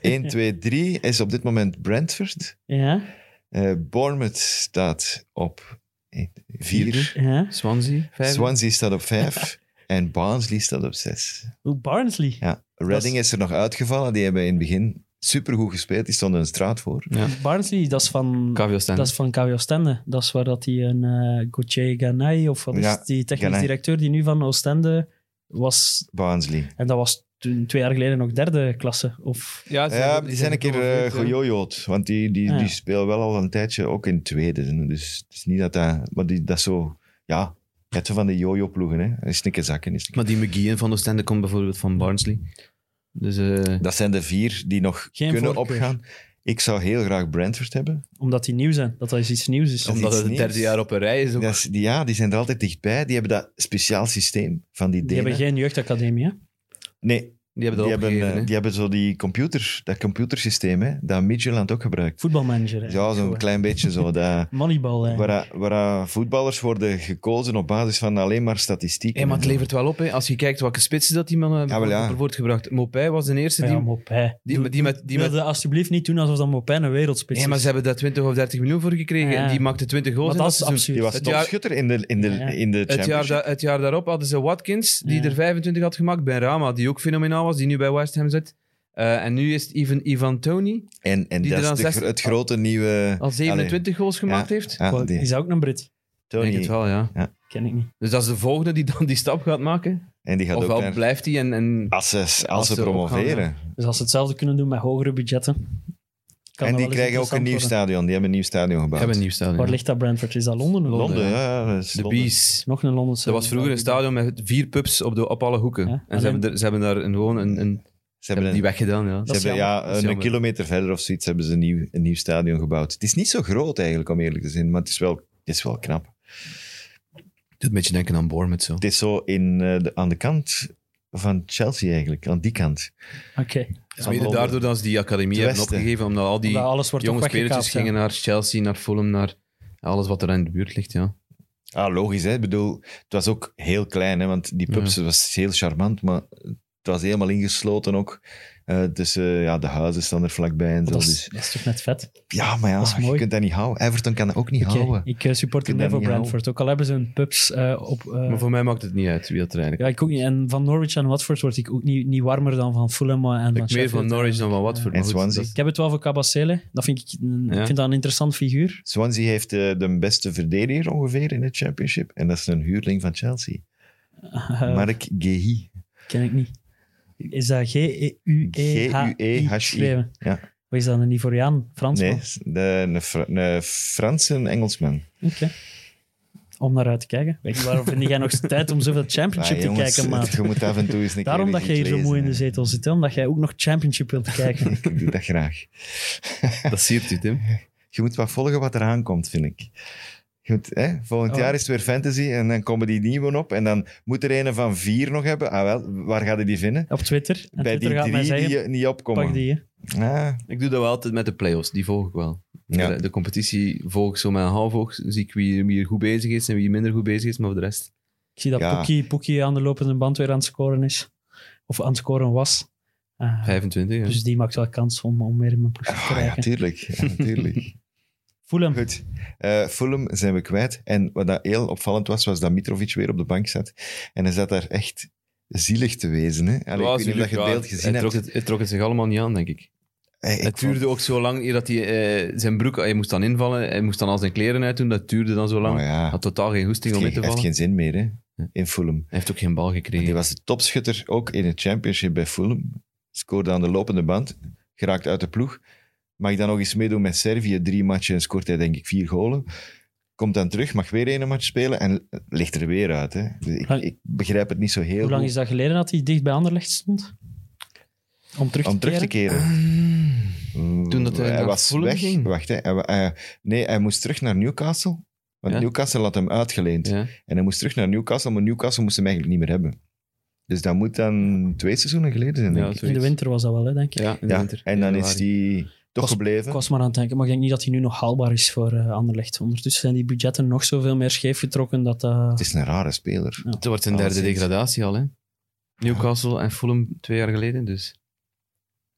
B: 1, 2, 3 is op dit moment Brentford.
D: Ja,
B: Eh, Bournemouth staat op 4.
D: ja.
C: Swansea, vijf.
B: Swansea staat op 5. en Barnsley staat op 6.
D: Oeh, Barnsley.
B: Ja. Reading is er nog uitgevallen. Die hebben in het begin supergoed gespeeld. Die stonden een straat voor.
C: ja.
D: Barnsley, dat is van...
C: KVO Stijn.
D: Dat is van KW Oostende. Dat is waar dat die een eh Gauthier Ganay, of wat is
B: Ja,
D: het, die technisch
B: Ganay.
D: directeur die nu van Oostende was.
B: Barnsley.
D: En dat was toen, twee jaar geleden nog derde klasse. Of,
C: Ja, ze
B: Ja,
C: hebben-
B: die zijn een keer eh,
C: gepromoveerd, ja.
B: gejojoed. Want die, die,
D: Ah, ja.
B: die spelen wel al een tijdje ook in tweede. Dus het is niet dat dat... Maar die, dat is zo... Ja, je hebt zo van de jojo-ploegen. hè. Is een keer zakken. Is een keer-
C: Maar die McGeehan van Oostende komt bijvoorbeeld van Barnsley. Dus eh,
B: Dat zijn de vier die nog
D: Geen
B: kunnen
D: voorkeur.
B: opgaan. Ik zou heel graag Brentford hebben.
D: omdat die nieuw zijn. Dat dat is iets nieuws is.
B: Dat is
C: omdat
B: iets
C: het het
B: nieuws.
C: derde jaar op een rij is. Ook.
B: Dat is- die, ja, die zijn er altijd dichtbij. Die hebben dat speciaal systeem van die
D: Die
B: Denen.
D: hebben geen jeugdacademie, hè?
B: Nee,
C: die hebben
B: die
C: dat
B: hebben,
C: opgegeven.
B: eh,
C: hè.
B: die hebben zo die computer, dat computersysteem, hè, dat Midtjylland ook gebruikt.
D: Voetbalmanager. hè.
B: Ja,
D: Zo,
B: zo'n
D: hè.
B: klein beetje zo. Dat,
D: Moneyball, hè.
B: waar, dat- waar dat voetballers worden gekozen op basis van alleen maar statistieken.
C: Hey, maar het
B: en zo.
C: levert wel op. Hè. Als je kijkt welke spitsen dat die man
B: Ja, wel, ja.
C: er wordt gebracht. Mopij was de eerste.
D: Ja,
C: die,
D: Mopé.
C: die, die met, die
D: Wil
C: met,
D: je alsjeblieft niet doen alsof dat Mopé een wereldspits
C: hey, maar ze
D: is.
C: hebben daar 20 of 30 miljoen voor gekregen.
D: Ja.
C: En die maakte 20 goals.
D: Maar
C: in
D: dat is
C: seizoen.
D: absurd.
B: Die was
C: Het jaar-
B: topschutter in de, in de,
D: Ja.
B: in de
C: Het jaar,
B: Championship.
C: da- het jaar daarop hadden ze Watkins, die
D: Ja.
C: er 25 had gemaakt. Ben Rama, die ook fenomenaal was, die nu bij West Ham zit. Eh, en nu is het Ivan, Ivan Tony,
B: En, en
C: die
B: dat
C: er
B: is
C: dan
B: de
C: zes-
B: gro- het grote nieuwe...
C: al 27 goals gemaakt
B: Ja.
C: heeft.
B: Ja,
D: Wel,
B: die-
D: Is dat ook een Brit?
C: Ik denk het
B: Tony.
C: wel, ja.
D: Ken ik niet.
C: Dus dat is de volgende die dan die stap gaat maken.
B: En die gaat ook
C: Ofwel
B: naar-
C: blijft hij en... en
B: Als ze, als
C: Oh, Als
B: ze
C: ze
B: promoveren.
D: Dus als ze hetzelfde kunnen doen met hogere budgetten. kan
B: en
D: dat wel
B: die
D: eens
B: krijgen ook een
D: interessant
B: nieuw
D: worden.
B: stadion. Die hebben een nieuw stadion gebouwd.
C: hebben een nieuw stadion.
D: Waar
C: ja.
D: ligt dat Brentford? Is dat Londen? of-
C: Londen.
B: Londen, ja. ja, dat is
C: De
B: Londen.
C: Bees.
D: Nog een Londense.
C: Dat was vroeger een stadion met vier pubs op, de, op alle hoeken.
D: Ja,
C: en
D: alleen-
C: ze hebben, er- ze hebben daar een, gewoon een, een, ze
B: Ze hebben,
C: hebben die
B: een,
C: weggedaan. Ja.
B: ze
D: Dat is
B: hebben
D: jammer.
B: ja,
C: Dat is
B: een
C: jammer.
B: kilometer verder of zoiets hebben ze een nieuw, een nieuw stadion gebouwd. Het is niet zo groot eigenlijk, om eerlijk te zijn. Maar het is wel, het is wel knap.
C: doet een beetje denken aan Bournemouth. Zo.
B: Het is zo in, eh, de, aan de kant van Chelsea eigenlijk. Aan die kant.
D: Oké.
C: Het is mede daardoor dat ze die academie
B: Het
C: hebben
B: westen.
C: opgegeven, omdat al die
D: Omdat alles wordt
C: jonge
D: toch
C: spelers
D: weggekaapt, ja.
C: gingen naar Chelsea, naar Fulham, naar alles wat er in de buurt ligt. Ja.
B: Ah, logisch. Hè? Ik bedoel, het was ook heel klein. Hè? Want die pubs was heel charmant, maar het was helemaal ingesloten ook. Eh, dus eh, ja, de huizen staan er vlakbij en zo.
D: Dat
B: dus-
D: is, dat is toch net vet?
B: Ja, maar ja,
D: Dat is
B: je
D: mooi.
B: kunt dat niet houden. Everton kan dat ook niet
D: Oké,
B: houden.
D: Ik eh, support
B: Kun
D: hem
B: je
D: mee
B: dat
D: voor
B: niet
D: Brentford. Ook al hebben ze hun pubs eh, op... eh,
C: Maar voor mij maakt het niet uit wie dat er eigenlijk
D: ja, ik ook niet. En van Norwich en Watford word ik ook niet, niet warmer dan van Fulham en van
C: Ik meer van
D: Sheffield.
C: Norwich dan van Watford.
B: En
C: maar goed,
B: Swansea.
C: dat-
D: Ik heb het wel voor Cabasele. Dat vind ik, een-
C: Ja.
D: ik vind dat een interessant figuur.
B: Swansea heeft eh, de beste verdediger ongeveer in de championship. En dat is een huurling van Chelsea.
D: Eh,
B: Mark Gehi.
D: ken ik niet. Is dat E G-E-U-E-H-I?
B: G-U-E-H-I.
D: geschreven?
B: Ja.
D: Wat is dat, een Ivoriaan? Fransman?
B: Nee, de, een, Fra een Franse Engelsman.
D: Oké. Om naar uit te kijken. Ik- Waarom vind jij nog tijd om zoveel championship
B: Ah,
D: te
B: jongens,
D: kijken, maar
B: Je moet af en toe eens een keer
D: Daarom
B: eens
D: dat jij hier
B: iets
D: zo
B: lezen,
D: mooi in de
B: hè.
D: zetel zit, hè? omdat jij ook nog championship wilt kijken.
B: Ik doe dat graag.
C: Dat siert u, Tim.
B: Je moet wat volgen wat eraan komt, vind ik. Je moet, hè? Volgend
D: Oh.
B: jaar is het weer fantasy en dan komen die nieuwe op. En dan moet er een van vier nog hebben. Ah wel, waar ga je die vinden?
D: Op Twitter. En
B: Bij
D: Twitter
B: die
D: gaat mij
B: drie
D: zeggen,
B: die eh, niet opkomen.
D: pak die. hè.
B: Ah,
C: Ik doe dat wel altijd met de play-offs, die volg ik wel.
B: Ja.
C: De, de competitie volg ik zo met een half oog. Zie ik wie, wie er goed bezig is en wie minder goed bezig is, maar voor de rest...
D: Ik zie dat
B: Ja.
D: Poekie, Poekie aan de lopende band weer aan het scoren is. Of aan het scoren was. Eh,
C: 25, ja.
D: dus die maakt wel kans om, om weer in mijn ploeg te
B: Oh, ja,
D: krijgen.
B: tuurlijk. Ja, tuurlijk.
D: Voel hem.
B: Goed. Eh, Fulham zijn we kwijt. En wat dat heel opvallend was, was dat Mitrovic weer op de bank zat. En hij zat daar echt zielig te wezen. Hè? Allee, ik weet niet of dat je het beeld gezien
C: hij trok
B: hebt.
C: het, hij trok het zich allemaal niet aan, denk ik.
B: Hey, ik
C: het duurde ook zo lang eer dat hij eh, zijn broek... Hij moest dan invallen, hij moest dan al zijn kleren uitdoen. Dat duurde dan zo lang.
B: vond- Maar Oh ja,
C: Had totaal geen goesting
B: het
C: om in
B: heeft,
C: te
B: geen- heeft
C: vallen.
B: geen zin meer hè?
C: Ja.
B: in Fulham.
C: Hij heeft ook geen bal gekregen.
B: Die was de topschutter ook in het championship bij Fulham. Scoorde aan de lopende band. Geraakt uit de ploeg. Mag dan nog eens meedoen met Servië. Drie matchen en scoort hij denk ik vier golen. Komt dan terug, mag weer één match spelen en ligt er weer uit. Hè? Dus ik,
D: Maar-
B: ik begrijp het niet zo heel
D: Hoe lang
B: goed.
D: is dat geleden dat hij dicht bij Anderlecht stond? Om terug te
B: Om terug te
D: keren?
B: keren.
C: Toen dat hij naar
B: was
C: Fulham
B: weg.
C: ging?
B: Wacht, hè. Hij, wa- hij- nee, hij moest terug naar Newcastle. Want
C: Ja.
B: Newcastle had hem uitgeleend.
C: Ja.
B: En hij moest terug naar Newcastle, maar Newcastle moest hem eigenlijk niet meer hebben. Dus dat moet dan twee seizoenen geleden zijn, denk
C: Ja,
B: ik.
D: In de winter was dat wel, hè, denk ik.
C: Ja, in de
B: Ja,
C: winter.
B: en dan is
C: Januari.
B: die toch gebleven.
D: Ik was maar aan het denken, maar ik denk niet dat hij nu nog haalbaar is voor eh, Anderlecht. Ondertussen zijn die budgetten nog zoveel meer scheef getrokken dat... eh, dat
B: Het is een rare speler.
C: Het wordt een derde
B: Alleszins.
C: degradatie al, hè. Newcastle en Fulham twee jaar geleden, dus...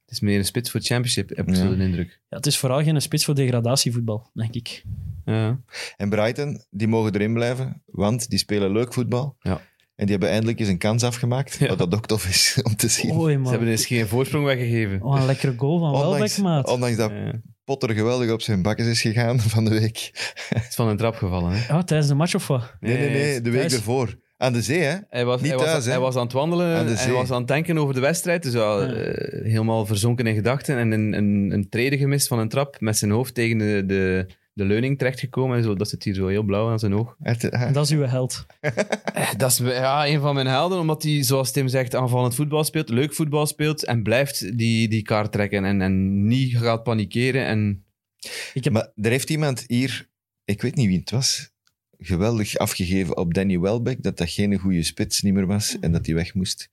C: Het is meer een spits voor het championship, heb ik
B: Ja.
C: zo de indruk.
D: ja, het is vooral geen spits voor degradatievoetbal, denk ik.
C: Ja.
B: En Brighton, die mogen erin blijven, want die spelen leuk voetbal.
C: Ja.
B: En die hebben eindelijk eens een kans afgemaakt,
C: Ja.
B: wat dat ook tof is om te zien.
D: Oei,
C: Ze
D: man.
C: hebben dus geen voorsprong weggegeven.
D: Oh, een lekkere goal van Welbeck, maat.
B: ondanks dat
C: Ja.
B: Potter geweldig op zijn bakkes is gegaan van de week.
C: Het is van een trap gevallen, hè.
D: Ja, Oh, tijdens de match of wat?
B: Nee, nee, nee, de week
D: thuis.
B: ervoor. Aan de zee, hè?
C: Hij was,
B: Niet
C: hij,
B: thuis,
C: was,
B: hè?
C: hij was aan het wandelen,
B: Aan de
C: en hij
B: zee.
C: was aan het denken over de wedstrijd. Dus al,
D: Ja.
C: eh, helemaal verzonken in gedachten. En een, een, een trede gemist van een trap met zijn hoofd tegen de, de, de leuning terechtgekomen. En zo, dat zit hier zo heel blauw aan zijn oog.
B: Echt, hè?
D: En dat is uw held.
C: Eh, Dat is ja, een van mijn helden, omdat hij, zoals Tim zegt, aanvallend voetbal speelt. Leuk voetbal speelt en blijft die, die kaart trekken. En, en niet gaat panikeren. En
D: Ik heb
B: Maar er heeft iemand hier, ik weet niet wie het was, geweldig afgegeven op Danny Welbeck dat dat geen goede spits niet meer was en dat hij weg moest.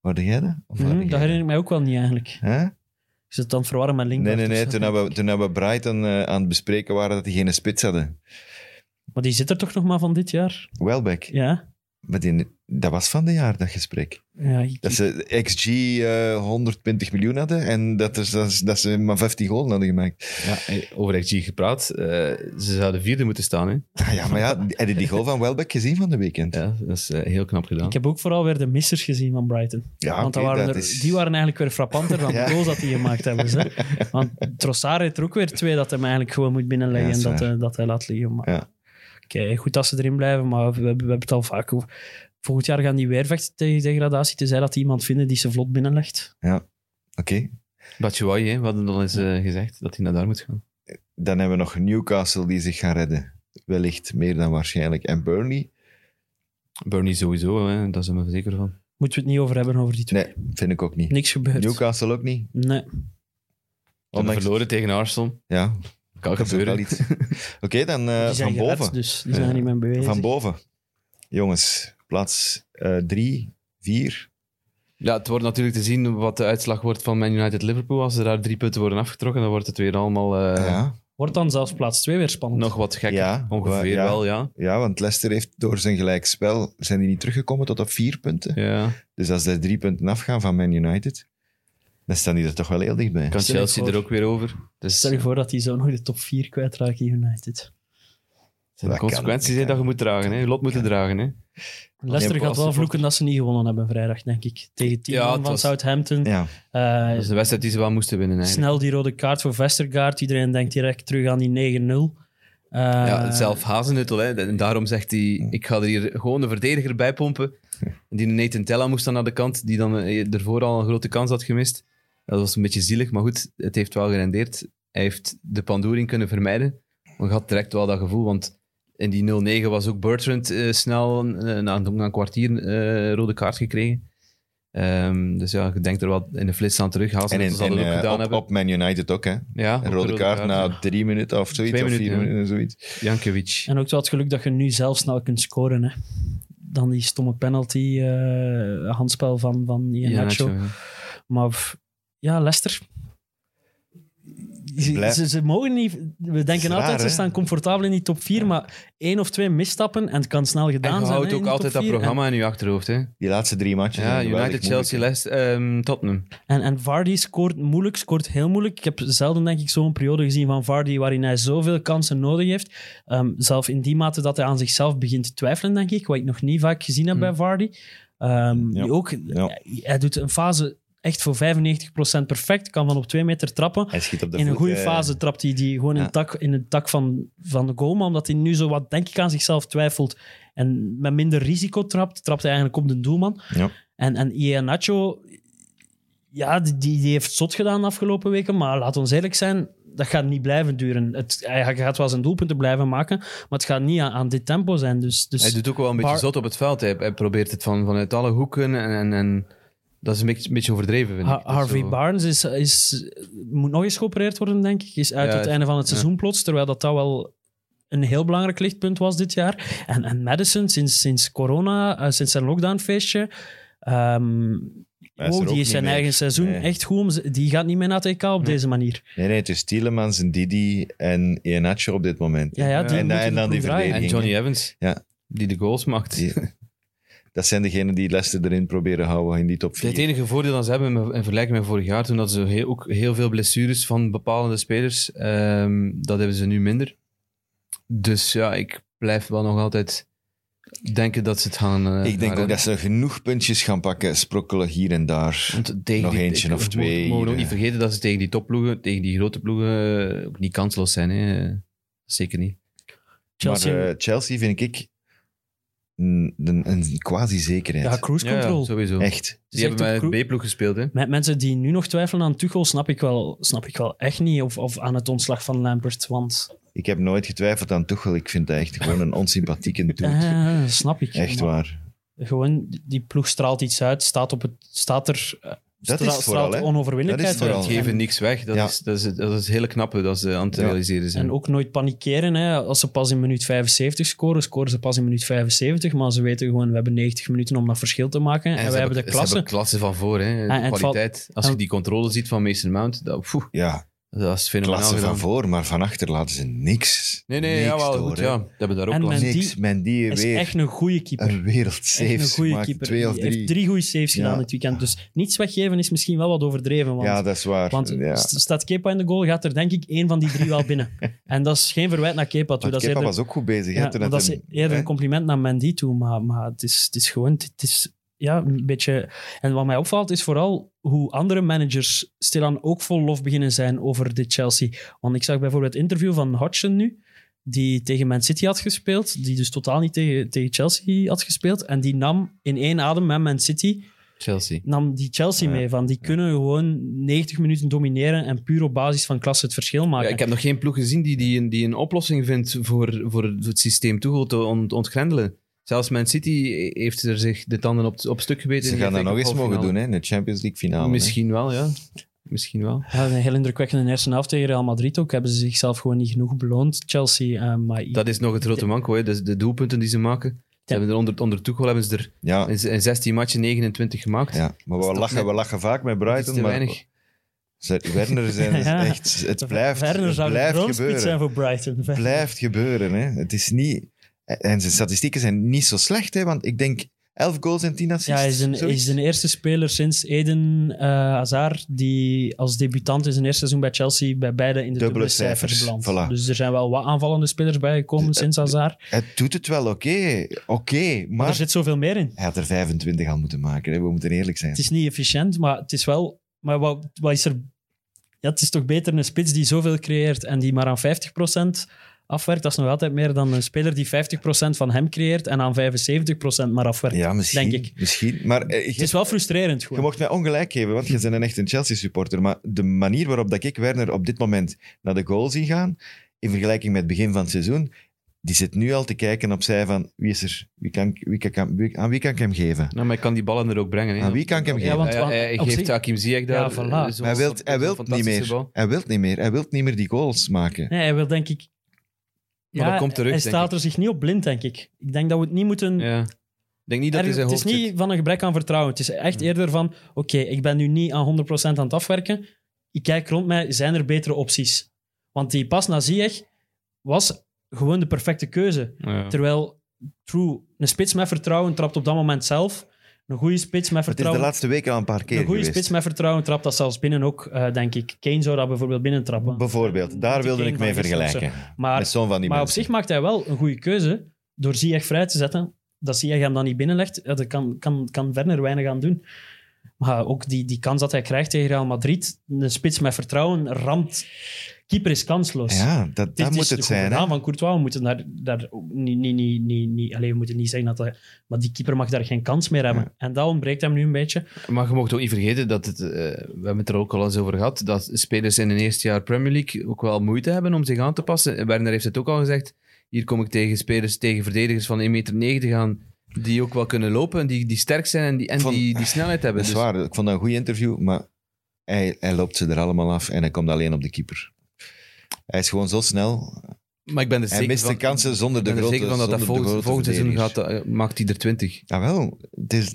B: Waarde jij dat? Of
D: Mhm,
B: waarde
D: dat
B: jij
D: herinner ik mij ook wel niet eigenlijk.
B: Hè?
D: Ik zit het dan verwarren met Lingard. dus
B: Nee, nee, nee.
D: of zo.
B: Toen hebben we, toen hebben we Brighton eh, aan het bespreken waren dat die geen spits hadden.
D: Maar die zit er toch nog maar van dit jaar?
B: Welbeck.
D: Ja.
B: Maar die, dat was van de jaar, dat gesprek.
D: ja ik-
B: Dat ze XG eh, 120 miljoen hadden en dat, er, dat, ze- dat ze maar 15 goals hadden gemaakt.
C: ja, over XG gepraat, eh, ze zouden vierde moeten staan. Hè?
B: Ah, ja, maar ja, heb je die goal van Welbeck gezien van de weekend?
C: Ja, dat is eh, heel knap gedaan.
D: Ik heb ook vooral weer de missers gezien van Brighton.
B: Ja,
D: Want dat
B: oké,
D: waren
B: dat
D: er,
B: is-
D: die waren eigenlijk weer frappanter dan
B: Ja.
D: de goals dat die gemaakt hebben. Hè? Want Trossard heeft er ook weer twee dat hij hem eigenlijk gewoon moet binnenleggen
B: Ja,
D: en
B: dat is waar.
D: dat, hij- dat hij laat liggen. Maar...
B: Ja.
D: Oké, goed dat ze erin blijven, maar we, we hebben het al vaak over. Volgend jaar gaan die weer vechten tegen degradatie, tenzij dat die iemand vinden die ze vlot binnenlegt.
B: Oké,
C: Batshuayi, hè, we hadden al eens eh, gezegd dat hij naar daar moet gaan.
B: dan hebben we nog Newcastle die zich gaan redden. Wellicht, meer dan waarschijnlijk. En Burnley?
C: Bernie sowieso, hè, daar zijn we zeker van.
D: Moeten we het niet over hebben over die twee.
B: Nee, vind ik ook niet.
D: Niks gebeurd.
B: Newcastle ook niet.
D: Nee.
C: We hebben
B: Ondanks-
C: verloren tegen Arsenal.
B: Ja,
C: Kan
B: dat is ook wel
C: gebeuren.
B: iets. Oké, dan eh,
D: Die zijn
B: van
D: gered,
B: boven.
D: dus die zijn er niet meer mee bezig.
B: Van boven. Jongens, plaats eh, drie, vier.
C: Ja, het wordt natuurlijk te zien wat de uitslag wordt van Man United-Liverpool. Als er daar drie punten worden afgetrokken, dan wordt het weer allemaal eh,
B: ja.
D: Wordt dan zelfs plaats 2 weer spannend.
C: nog wat gekker.
B: Ja,
C: Ongeveer
B: ja.
C: wel, ja.
B: ja, want Leicester heeft door zijn gelijkspel... Zijn die niet teruggekomen tot op vier punten?
C: ja.
B: Dus als ze drie punten afgaan van Man United, dan staan die er toch wel heel dichtbij.
C: Kan
D: Stel je
C: Chelsea
D: voor-
C: er ook weer over. Dus
D: Stel je voor dat die zo nog de top 4 kwijtraken in United.
C: het zijn de
B: Dat kan,
C: consequenties
B: dat
C: hè, dat je
B: kan.
C: moet dragen. Hè. Je lot moeten dragen. Hè.
D: Leicester
C: Nee,
D: gaat
C: als
D: wel
C: het
D: vloeken dat ze niet gewonnen hebben vrijdag, denk ik. Tegen team
C: Ja, het
D: van
C: was-
D: Southampton.
B: Ja,
D: Eh,
C: Dat is een wedstrijd die ze wel moesten winnen. Eigenlijk.
D: snel die rode kaart voor Vestergaard. Iedereen denkt direct terug aan die 9-0. Eh,
C: Ja, zelf Hazenuttel. Hè. En daarom zegt hij, ik ga er hier gewoon een verdediger bij pompen. En die Nathan Tella moest dan naar de kant, die dan eh, ervoor al een grote kans had gemist. Dat was een beetje zielig, maar goed, het heeft wel gerendeerd. Hij heeft de pandoering kunnen vermijden. Maar je had direct wel dat gevoel, want in die 0-9 was ook Bertrand eh, snel, eh, na, een, na een kwartier, eh, rode kaart gekregen. Ehm, dus ja, je denkt er wel in de flits aan terug.
B: en,
C: Hazenuttel
B: in,
C: zal dat
B: en,
C: ook
B: eh,
C: gedaan
B: op,
C: hebben.
B: op Man United ook, hè.
C: ja, op
B: Een
C: de
B: rode kaart na
C: ja.
B: drie minuten of zoiets,
C: Twee
B: of vier
C: minuten, ja.
B: minuten en zoiets.
C: Jankovic.
D: En ook wel het geluk dat je nu zelf snel kunt scoren. Hè. Dan die stomme penalty, eh, handspel van, van Ian
C: Ja,
D: Nacho.
C: Nacho, ja.
D: Maar pff, ja, Leicester. Ze,
B: Blij-
D: ze, ze mogen niet. We denken
B: raar,
D: altijd, ze
B: hè?
D: staan comfortabel in die top 4, maar één of twee misstappen en het kan snel gedaan
C: En je
D: zijn.
C: houdt
D: hè, in
C: ook
D: de top
C: altijd dat
D: vier.
C: programma in je achterhoofd. Hè?
B: Die laatste drie matchen.
C: Ja,
B: zijn geweldig
C: United, Chelsea,
B: moeilijk,
C: Leicester, ehm, Tottenham.
D: En, en Vardy scoort moeilijk, scoort heel moeilijk. Ik heb zelden, denk ik, zo'n periode gezien van Vardy waarin hij zoveel kansen nodig heeft. Ehm, zelf in die mate dat hij aan zichzelf begint te twijfelen, denk ik. Wat ik nog niet vaak gezien heb
C: Hmm.
D: bij Vardy. Ehm,
B: Ja.
D: die ook,
B: Ja.
D: Hij doet een fase echt voor 95% perfect. Kan van op twee meter trappen.
B: hè. Hij schiet op de
D: in een
B: voet,
D: goede
B: eh,
D: fase trapt hij die gewoon in,
B: Ja.
D: het dak, in het dak van, van de goalman, omdat hij nu zo wat, denk ik, aan zichzelf twijfelt. En met minder risico trapt, trapt hij eigenlijk op de doelman.
B: Ja.
D: En, en Iheanacho, ja, die, die die heeft zot gedaan de afgelopen weken, maar laat ons eerlijk zijn, dat gaat niet blijven duren. Het, hij gaat wel zijn doelpunten blijven maken, maar het gaat niet aan, aan dit tempo zijn. Dus, dus
C: Hij doet ook wel een beetje
D: Bar-
C: zot op het veld. Hij, hij probeert het van, vanuit alle hoeken. En, en, en dat is een beetje, een beetje overdreven, vind
D: Ha-
C: ik. Dat is
D: Harvey
C: zo-
D: Barnes is, is, moet nog eens geopereerd worden, denk ik. Is uit
C: Ja,
D: het einde van het
C: ja.
D: seizoen plots. Terwijl dat, dat wel een heel belangrijk lichtpunt was dit jaar. En, en Madison, sinds, sinds corona, eh, sinds zijn lockdownfeestje. ehm
B: Hij is er
D: wow,
B: ook
D: die
B: niet
D: is zijn
B: meer.
D: eigen seizoen
B: Nee.
D: echt goed. om ze- Die gaat niet meer naar TK op deze manier.
B: Nee, nee, het is Tielemans en Didi en Iheanacho op dit moment.
D: Ja, ja,
C: En-
D: die moeten
B: en
D: het
B: dan die
D: goed draaien.
B: verdediging.
C: En Johnny Evans,
B: Ja.
C: die de goals maakt.
B: Die- Dat zijn degenen die Leicester erin proberen houden in die top 4.
C: Het enige voordeel dat ze hebben in vergelijking met vorig jaar, toen hadden ze heel, ook heel veel blessures van bepalende spelers, ehm, dat hebben ze nu minder. Dus ja, ik blijf wel nog altijd denken dat ze het gaan. eh,
B: Ik denk
C: gaan
B: ook dat ze genoeg puntjes gaan pakken, sprokkelen hier en daar.
C: Want tegen
B: Nog
C: die-
B: eentje
C: ik-
B: of
C: we
B: twee
C: mogen- mogen
B: hier, eh.
C: ook niet
B: hè.
C: vergeten dat ze tegen die topploegen, tegen die grote ploegen, eh, ook niet kansloos zijn. Hè. Zeker niet.
D: Chelsea,
B: Maar eh, Chelsea vind ik een, een, een quasi-zekerheid.
D: ja, cruise control.
C: sowieso.
B: Echt.
C: Die
D: Zegt
C: hebben
D: ook
C: met
D: Kroes-
C: de B-ploeg gespeeld. Hè.
D: Met mensen die nu nog twijfelen aan Tuchel, snap ik wel, snap ik wel echt niet. Of, of aan het ontslag van Lambert, want...
B: Ik heb nooit getwijfeld aan Tuchel. Ik vind dat echt gewoon een onsympathieke dude.
D: eh, snap ik.
B: Echt
D: Maar
B: waar.
D: Gewoon, die ploeg straalt iets uit, staat, op het, staat er... eh,
B: Dat
D: stra-
B: is het vooral,
D: straalt
B: hè.
D: onoverwinnelijkheid
B: Dat is het
D: uit.
B: vooral.
C: Die geven
D: En-
C: niks weg. Dat,
B: Ja.
C: is, dat, is, het- dat is het hele knappe dat ze aan het
B: Ja.
C: realiseren zijn.
D: En ook nooit panikeren. Hè. Als ze pas in minuut 75 scoren, scoren ze pas in minuut 75. Maar ze weten gewoon, we hebben 90 minuten om dat verschil te maken. En,
C: ze
D: we
C: hebben-
D: hebben
C: Ze
D: de klasse.
C: hebben klasse van voor. Hè.
D: en het
C: Kwaliteit. Als
D: en-
C: je die controle ziet van Mason Mount, dat, poeh,
B: Ja,
C: dat is fenomenaal.
B: klasse van
C: gedaan.
B: voor, maar van achter laten ze niks.
C: Nee, nee,
B: niks
C: ja, wel,
B: door,
C: goed.
B: hè.
C: Ja. Die hebben daar ook
D: En
C: klasse.
D: Mendy
B: Niks. Men die
D: is
B: weer
D: echt een goede keeper.
B: een wereld
D: Echt een
B: saves
D: goede
B: gemaakt.
D: keeper.
B: Twee of
D: Die
B: drie.
D: heeft drie goede saves
B: Ja.
D: gedaan dit weekend. Dus niets weggeven is misschien wel wat overdreven. Want,
B: ja, dat is waar.
D: want
B: ja.
D: st- staat Kepa in de goal, gaat er denk ik één van die drie wel binnen. en dat is geen verwijt naar Kepa toe.
B: Want
D: Dat is
B: Kepa
D: eerder,
B: was ook goed bezig.
D: ja,
B: hè, toen
D: maar dat is e-
B: hem-
D: eerder
B: hè?
D: een compliment naar Mandy toe. Maar, maar het, is, het is gewoon... Het is, ja, een beetje... En wat mij opvalt is vooral hoe andere managers stilaan ook vol lof beginnen zijn over dit Chelsea. Want ik zag bijvoorbeeld het interview van Hodgson nu, die tegen Man City had gespeeld, die dus totaal niet tegen, tegen Chelsea had gespeeld. En die nam in één adem met Man City
C: Chelsea.
D: nam die Chelsea
B: Ja.
D: mee. Van die kunnen gewoon 90 minuten domineren en puur op basis van klasse het verschil maken.
C: Ja, ik heb nog geen ploeg gezien die, die, een, die een oplossing vindt voor, voor het systeem Tuchel te ont, ontgrendelen. Zelfs Man City heeft er zich de tanden op, op stuk geweten.
B: Ze
C: in
B: gaan
C: de
B: dat nog eens
C: halve
B: mogen
C: finale.
B: doen hè, in de Champions League finale. hè.
C: Misschien wel, ja. Misschien wel.
D: Ja, een heel indrukwekkende eerste helft tegen Real Madrid ook. Hebben ze zichzelf gewoon niet genoeg beloond, Chelsea. eh, maar ik-
C: Dat is nog het grote manco, hè. Dus de doelpunten die ze maken. Ze hebben er onder, onder Tuchel hebben ze er
B: Ja,
C: in z- in 16 matchen 29 gemaakt.
B: ja. Maar
C: is
B: we
C: toch
B: lachen,
C: net-
B: we lachen vaak met
C: dat is
B: Brighton.
C: te
B: maar
C: weinig.
B: Ze- Werner zijn dus
D: Ja.
B: echt... Het blijft,
D: Werner
B: het
D: zou de
B: blijft
D: droomspits
B: gebeuren.
D: zijn voor Brighton.
B: Het blijft gebeuren. Hè. Het is niet... En zijn statistieken zijn niet zo slecht, hè, want ik denk 11 goals en 10 assists.
D: Ja, hij is een, hij
B: zoiets.
D: is de eerste speler sinds Eden eh Hazard die als debutant in zijn eerste seizoen bij Chelsea bij beide in de dubbele,
B: Dubbele
D: cijfers,
B: cijfers,
D: belandt.
B: voilà.
D: Dus er zijn wel wat aanvallende spelers bijgekomen sinds Hazard. Maar,
B: Het doet het wel oké. Oké, maar...
D: er zit zoveel meer in.
B: Hij had er 25 aan moeten maken, hè. we moeten eerlijk zijn.
D: Het is niet efficiënt, maar het is wel... Maar wat, wat is er... Ja, het is toch beter een spits die zoveel creëert en die maar aan 50% afwerkt. Dat is nog altijd meer dan een speler die 50% van hem creëert en aan 75% maar afwerkt.
B: Ja, misschien.
D: denk ik.
B: misschien. Maar eh,
D: Het is wel frustrerend
B: Je
D: gewoon.
B: mocht mij ongelijk geven, want je bent een echt een Chelsea-supporter. Maar de manier waarop dat ik Werner op dit moment naar de goal zie gaan, in vergelijking met het begin van het seizoen, die zit nu al te kijken opzij van wie is er, wie kan, ik- wie kan, ik hem- wie- aan wie kan ik hem geven?
C: Nou, maar ik kan die ballen er ook brengen. Hè.
B: Aan wie kan ik hem
C: Ja,
B: geven?
D: want-
C: ja, hij
D: op
C: geeft
D: zich-
C: Hakim Ziyech daar.
D: Ja, voilà.
C: eh,
D: Maar hij
C: zo'n-
B: Maar hij wil, hij
C: zo'n
B: wil niet
C: fantastische
B: meer.
C: bal.
B: Hij wil niet meer. Hij wil niet meer die goals maken.
D: Nee, hij wil denk ik...
C: Maar dat komt terug,
D: hij
C: denk
D: staat
C: ik.
D: er zich niet op blind, denk ik. Ik denk dat we het niet moeten...
C: Ja. Ik denk niet dat hij
D: Ergens-
C: zijn
D: het is
C: hoofd
D: niet
C: zit.
D: van een gebrek aan vertrouwen. Het is echt
B: Hmm.
D: eerder van, oké, ik ben nu niet aan 100% aan het afwerken. Ik kijk rond mij, zijn er betere opties? Want die pas naar Ziyech was gewoon de perfecte keuze.
C: Ja.
D: Terwijl, true, een spits met vertrouwen trapt op dat moment zelf. Een goede spits
B: Het is
D: met
B: de
D: vertrouwen...
B: laatste weken al een paar keer
D: Een goede
B: geweest.
D: spits met vertrouwen trapt dat zelfs binnen ook, eh, denk ik. Kane zou dat bijvoorbeeld binnen trappen.
B: Bijvoorbeeld, daar
D: Die
B: wilde
D: Kane
B: ik
D: van
B: mee
D: gisteren of
B: vergelijken.
D: Maar
B: Met zo'n van die
D: maar op
B: mensen.
D: zich maakt hij wel een goede keuze door Ziyech vrij te zetten. Dat Ziyech hem dan niet binnenlegt, ja, dat kan, kan, kan Werner weinig aan doen. Maar ook die, die kans dat hij krijgt tegen Real Madrid, een spits met vertrouwen, ramt. Keeper is kansloos.
B: Ja, dat,
D: Dit
B: dat
D: is dus
B: moet
D: de
B: het
D: goede
B: zijn. hè.
D: naam van Courtois. We moeten daar, daar ook niet, niet, niet, niet, niet, allee, we moeten niet zeggen dat hij... Maar die keeper mag daar geen kans meer hebben. En dat ontbreekt hem nu een beetje.
C: Maar je mocht ook niet vergeten dat het, eh, we hebben het er ook al eens over gehad, dat spelers in hun eerste jaar Premier League ook wel moeite hebben om zich aan te passen. Werner heeft het ook al gezegd. Hier kom ik tegen spelers, tegen verdedigers van 1,90 meter aan, die ook wel kunnen lopen, en die, die sterk zijn en die, en
B: Van-
C: die, die snelheid hebben.
B: Dat is
C: Dus
B: waar. Ik vond dat een goed interview, maar hij, hij loopt ze er allemaal af en hij komt alleen op de keeper. Hij is gewoon zo snel.
C: Maar ik ben er
B: Hij
C: zeker
B: mist de
C: van,
B: kansen zonder
C: ik
B: de
C: ben er
B: grote
C: zeker van dat dat
B: zonder de
C: volgend,
B: grote
C: volgend seizoen
B: verdedigers.
C: gaat, eh, maakt hij er 20.
B: Jawel, het is,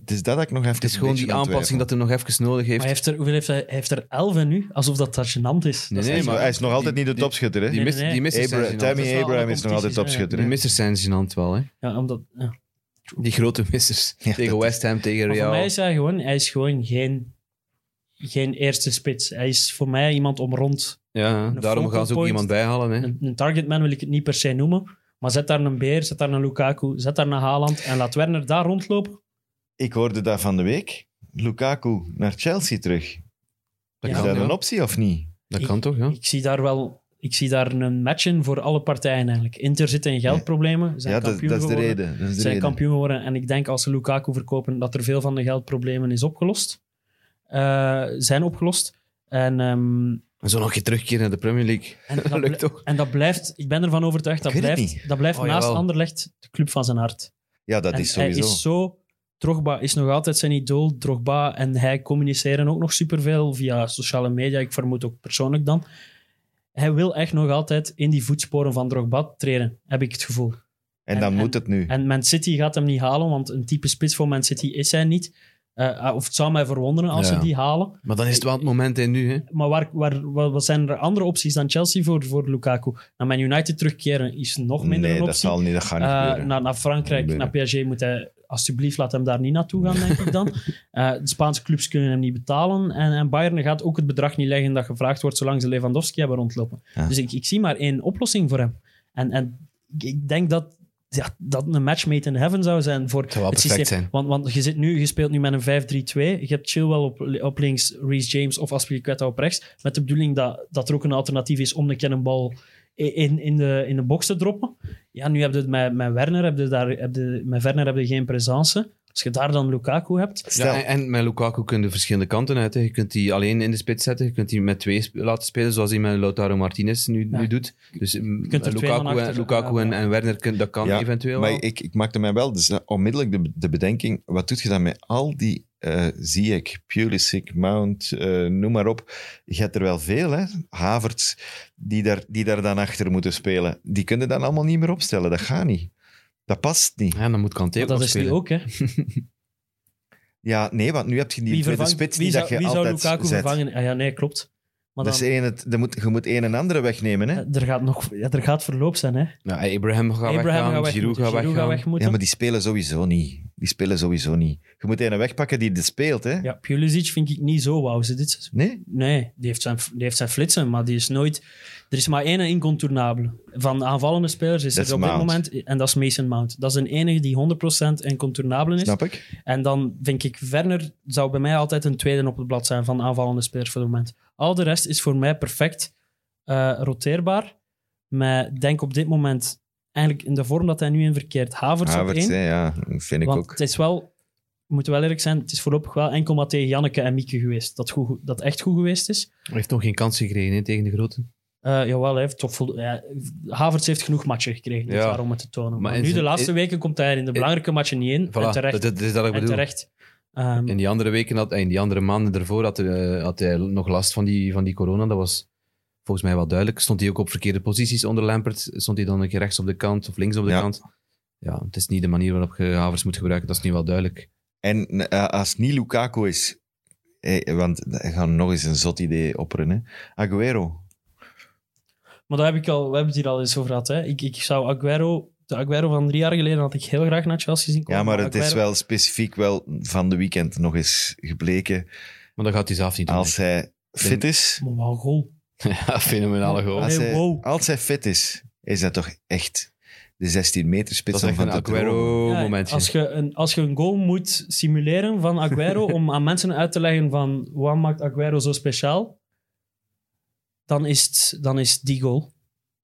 B: het is dat dat ik nog even
C: Het is gewoon die aanpassing dat hij nog even nodig heeft.
D: Maar heeft er, hoeveel heeft hij, hij heeft er 11 en nu? Alsof dat dat gênant is.
C: Nee,
D: Dat is
C: nee,
B: Hij is,
D: echt-
C: maar-
B: hij is nog altijd niet de topschutter, hè?
C: Die,
D: Nee,
C: mis,
D: nee, nee.
C: die missers
B: Abra-
C: zijn gênant.
D: Dat is
B: Tammy
D: wel
B: Abraham
D: alle
B: is nog altijd
D: competities, ja.
B: topschutter.
C: Die
B: hè?
C: missers zijn gênant wel, hè.
D: Ja, omdat, ja. Maar
C: Die grote missers.
B: Ja,
C: tegen
B: dat-
C: West Ham, tegen
D: voor
C: Real.
D: mij is hij gewoon, hij is gewoon geen, geen eerste spits. Hij is voor mij iemand om rond.
C: ja,
D: een
C: daarom
D: focal
C: gaan ze ook
D: point.
C: iemand bijhalen, hè.
D: Een, een targetman wil ik het niet per se noemen. Maar zet daar een Beer, zet daar een Lukaku, zet daar een Haaland en laat Werner daar rondlopen.
B: Ik hoorde dat van de week. Lukaku naar Chelsea terug.
C: Dat
D: Ja.
B: Is
C: kan,
B: dat
C: ja.
B: een optie of niet?
C: Dat kan
B: Hm.
C: toch, ja.
D: Ik zie daar wel ik zie daar een match in voor alle partijen eigenlijk. Inter zit in geldproblemen. Zijn
B: ja, dat,
D: kampioen
B: dat is de
D: geworden.
B: reden. Dat is de
D: zijn
B: reden.
D: kampioen geworden. En ik denk als ze Lukaku verkopen, dat er veel van de geldproblemen is opgelost. Eh, zijn opgelost. En, ehm,
C: En zo nog een keer terugkeren naar de Premier League.
D: en, dat
C: lukt
D: bl-
C: toch?
D: en dat blijft, ik ben ervan overtuigd, dat
B: Ik weet het
D: blijft,
B: niet.
D: dat blijft
C: Oh,
D: naast
C: jawel.
D: Anderlecht de club van zijn hart.
B: Ja, dat
D: en
B: is
D: hij
B: sowieso.
D: is zo... Drogba is nog altijd zijn idool. Drogba en hij communiceren ook nog superveel via sociale media. Ik vermoed ook persoonlijk dan. Hij wil echt nog altijd in die voetsporen van Drogba treden, heb ik het gevoel.
B: en dan
D: en-
B: moet het nu.
D: En Man City gaat hem niet halen, want een type spits voor Man City is hij niet. Eh, eh, of het zou mij verwonderen als
C: Ja.
D: ze die halen.
C: Maar dan is het wel het moment in nu, hè.
D: Maar waar, waar, wa- wat zijn er andere opties dan Chelsea voor, voor Lukaku? Naar Man United terugkeren is nog minder
B: nee, dat
D: een optie.
B: zal niet. Dat gaat niet
D: Eh,
B: gebeuren.
D: naar, naar Frankrijk,
B: Niet
D: naar PSG moet hij... Alsjeblieft, laat hem daar niet naartoe gaan, denk ik dan. Eh, de Spaanse clubs kunnen hem niet betalen. En, en Bayern gaat ook het bedrag niet leggen dat gevraagd wordt zolang ze Lewandowski hebben rondlopen.
B: Ja.
D: Dus ik, ik zie maar één oplossing voor hem. En, en ik- ik denk dat ja, dat een match made in heaven zou zijn voor
C: zou wel
D: het
C: perfect
D: systeem.
C: zijn.
D: Want, want je, zit nu, je speelt nu met een 5-3-2. Je hebt Chilwell op, op links, Reece James of Aspilicueta op rechts. Met de bedoeling dat, dat er ook een alternatief is om de cannonbal in, in, de, in de box te droppen. Ja, nu heb je het met, met Werner, heb je daar, heb je, met Werner heb je geen presence. Als je daar dan Lukaku hebt...
B: Stel,
C: Ja, en, en met Lukaku kun je verschillende kanten uit. Hè. Je kunt die alleen in de spits zetten. Je kunt die met twee sp- laten spelen, zoals hij met Lautaro Martinez nu,
D: Ja.
C: nu doet. Dus mm,
D: kunt er twee
C: Lukaku, en,
D: van achter-
C: Lukaku en,
D: ja.
C: en Werner, kun- dat kan
B: Ja,
C: eventueel
B: Maar
C: wel.
B: ik, ik maakte mij wel dus onmiddellijk de, de bedenking, wat doet je dan met al die eh Ziyech, Pulisic, Mount, eh, noem maar op. Je hebt er wel veel, hè? Havertz, die daar, die daar dan achter moeten spelen. Die kunnen dan allemaal niet meer opstellen, dat gaat niet. Dat past niet.
C: Ja, dan moet Kanté ook
D: dat
C: nog
D: is nu
C: spelen.
D: ook, hè.
B: Ja, nee, want nu heb je die
D: Wie,
B: tweede
D: vervangt-
B: spits
D: wie
B: die
D: zou,
B: dat je
D: wie zou
B: altijd
D: Lukaku
B: zet.
D: vervangen? Ah, ja, nee, klopt. Maar
B: Dat is
D: dan, eh,
B: één, het, er moet, je moet één en andere wegnemen, hè?
D: er, gaat nog, ja, er gaat verloop zijn, hè.
C: Nou, Abraham gaat
D: Abraham
C: weggaan,
D: gaat weg
C: Giroud
D: moeten,
C: gaat
D: Giroud
C: weggaan.
D: moeten.
B: Ja, maar die spelen sowieso niet. Die spelen sowieso niet. Je moet één wegpakken die dit speelt, hè?
D: Ja, Pulisic vind ik niet zo wauw. Ze- Dit is-
B: Nee?
D: Nee, die heeft, zijn, die heeft zijn flitsen, maar die is nooit... Er is maar één incontournabele. Van aanvallende spelers is
B: Dat
D: er
B: is
D: op dit
B: Mount.
D: moment... En dat is Mason Mount. Dat is een enige die 100% incontournabele is.
B: Snap ik?
D: En dan vind ik, Werner zou bij mij altijd een tweede op het blad zijn van aanvallende spelers voor het moment. Al de rest is voor mij perfect eh, roteerbaar. Maar ik denk op dit moment, eigenlijk in de vorm dat hij nu in verkeert, Havertz, op
B: Havertz,
D: één.
B: hè, Ah, ja, vind ik
D: Want
B: ook.
D: het is wel... We moeten wel eerlijk zijn, het is voorlopig wel enkel maar tegen Janneke en Mieke geweest. Dat, goed, dat echt goed geweest is.
C: Hij heeft nog geen kans gekregen hè, tegen de grote.
D: Eh, jawel, hij heeft toch vol- ja, Havertz heeft genoeg matchen gekregen dit
C: Ja.
D: jaar om het te tonen.
C: Maar
D: Maar,
C: in
D: nu, de
C: zijn-
D: laatste
C: in-
D: weken, komt hij er in de belangrijke matchen niet in.
C: Voilà,
D: en terecht.
C: dat, dat is dat ik
D: en
C: bedoel.
D: terecht. Ehm,
C: In die andere weken, had, in die andere maanden ervoor, had, eh, had hij nog last van die, van die corona. Dat was volgens mij wel duidelijk. Stond hij ook op verkeerde posities onder Lampert? Stond hij dan een keer rechts op de kant of links op de
B: Ja.
C: kant? Ja, het is niet de manier waarop je Havers moet gebruiken. Dat is nu wel duidelijk.
B: En eh, als het niet Lukaku is, eh, want ik ga nog eens een zot idee opperen, hè. Aguero.
D: Maar daar heb ik al, we hebben het hier al eens over gehad. Hè. Ik, ik zou Aguero, de Aguero van drie jaar geleden had ik heel graag naar Chelsea zien komen.
B: Ja, maar het is
D: Aguero-
B: wel specifiek wel van de weekend nog eens gebleken.
C: Maar dat gaat hij zelf niet doen.
B: Als hij fit is,
D: Maar wauw, goal.
C: ja, fenomenale goal.
D: Nee,
B: als hij,
D: wow.
B: als hij fit is, is dat toch echt de 16 meter
C: Dat
B: spits
C: is
B: om
C: echt
B: van
C: een
B: te dromen.
D: Ja,
C: Aguero-momentje.
D: als, je een, als je een goal moet simuleren van Aguero om aan mensen uit te leggen van wat maakt Aguero zo speciaal, dan is, het, dan is het die goal.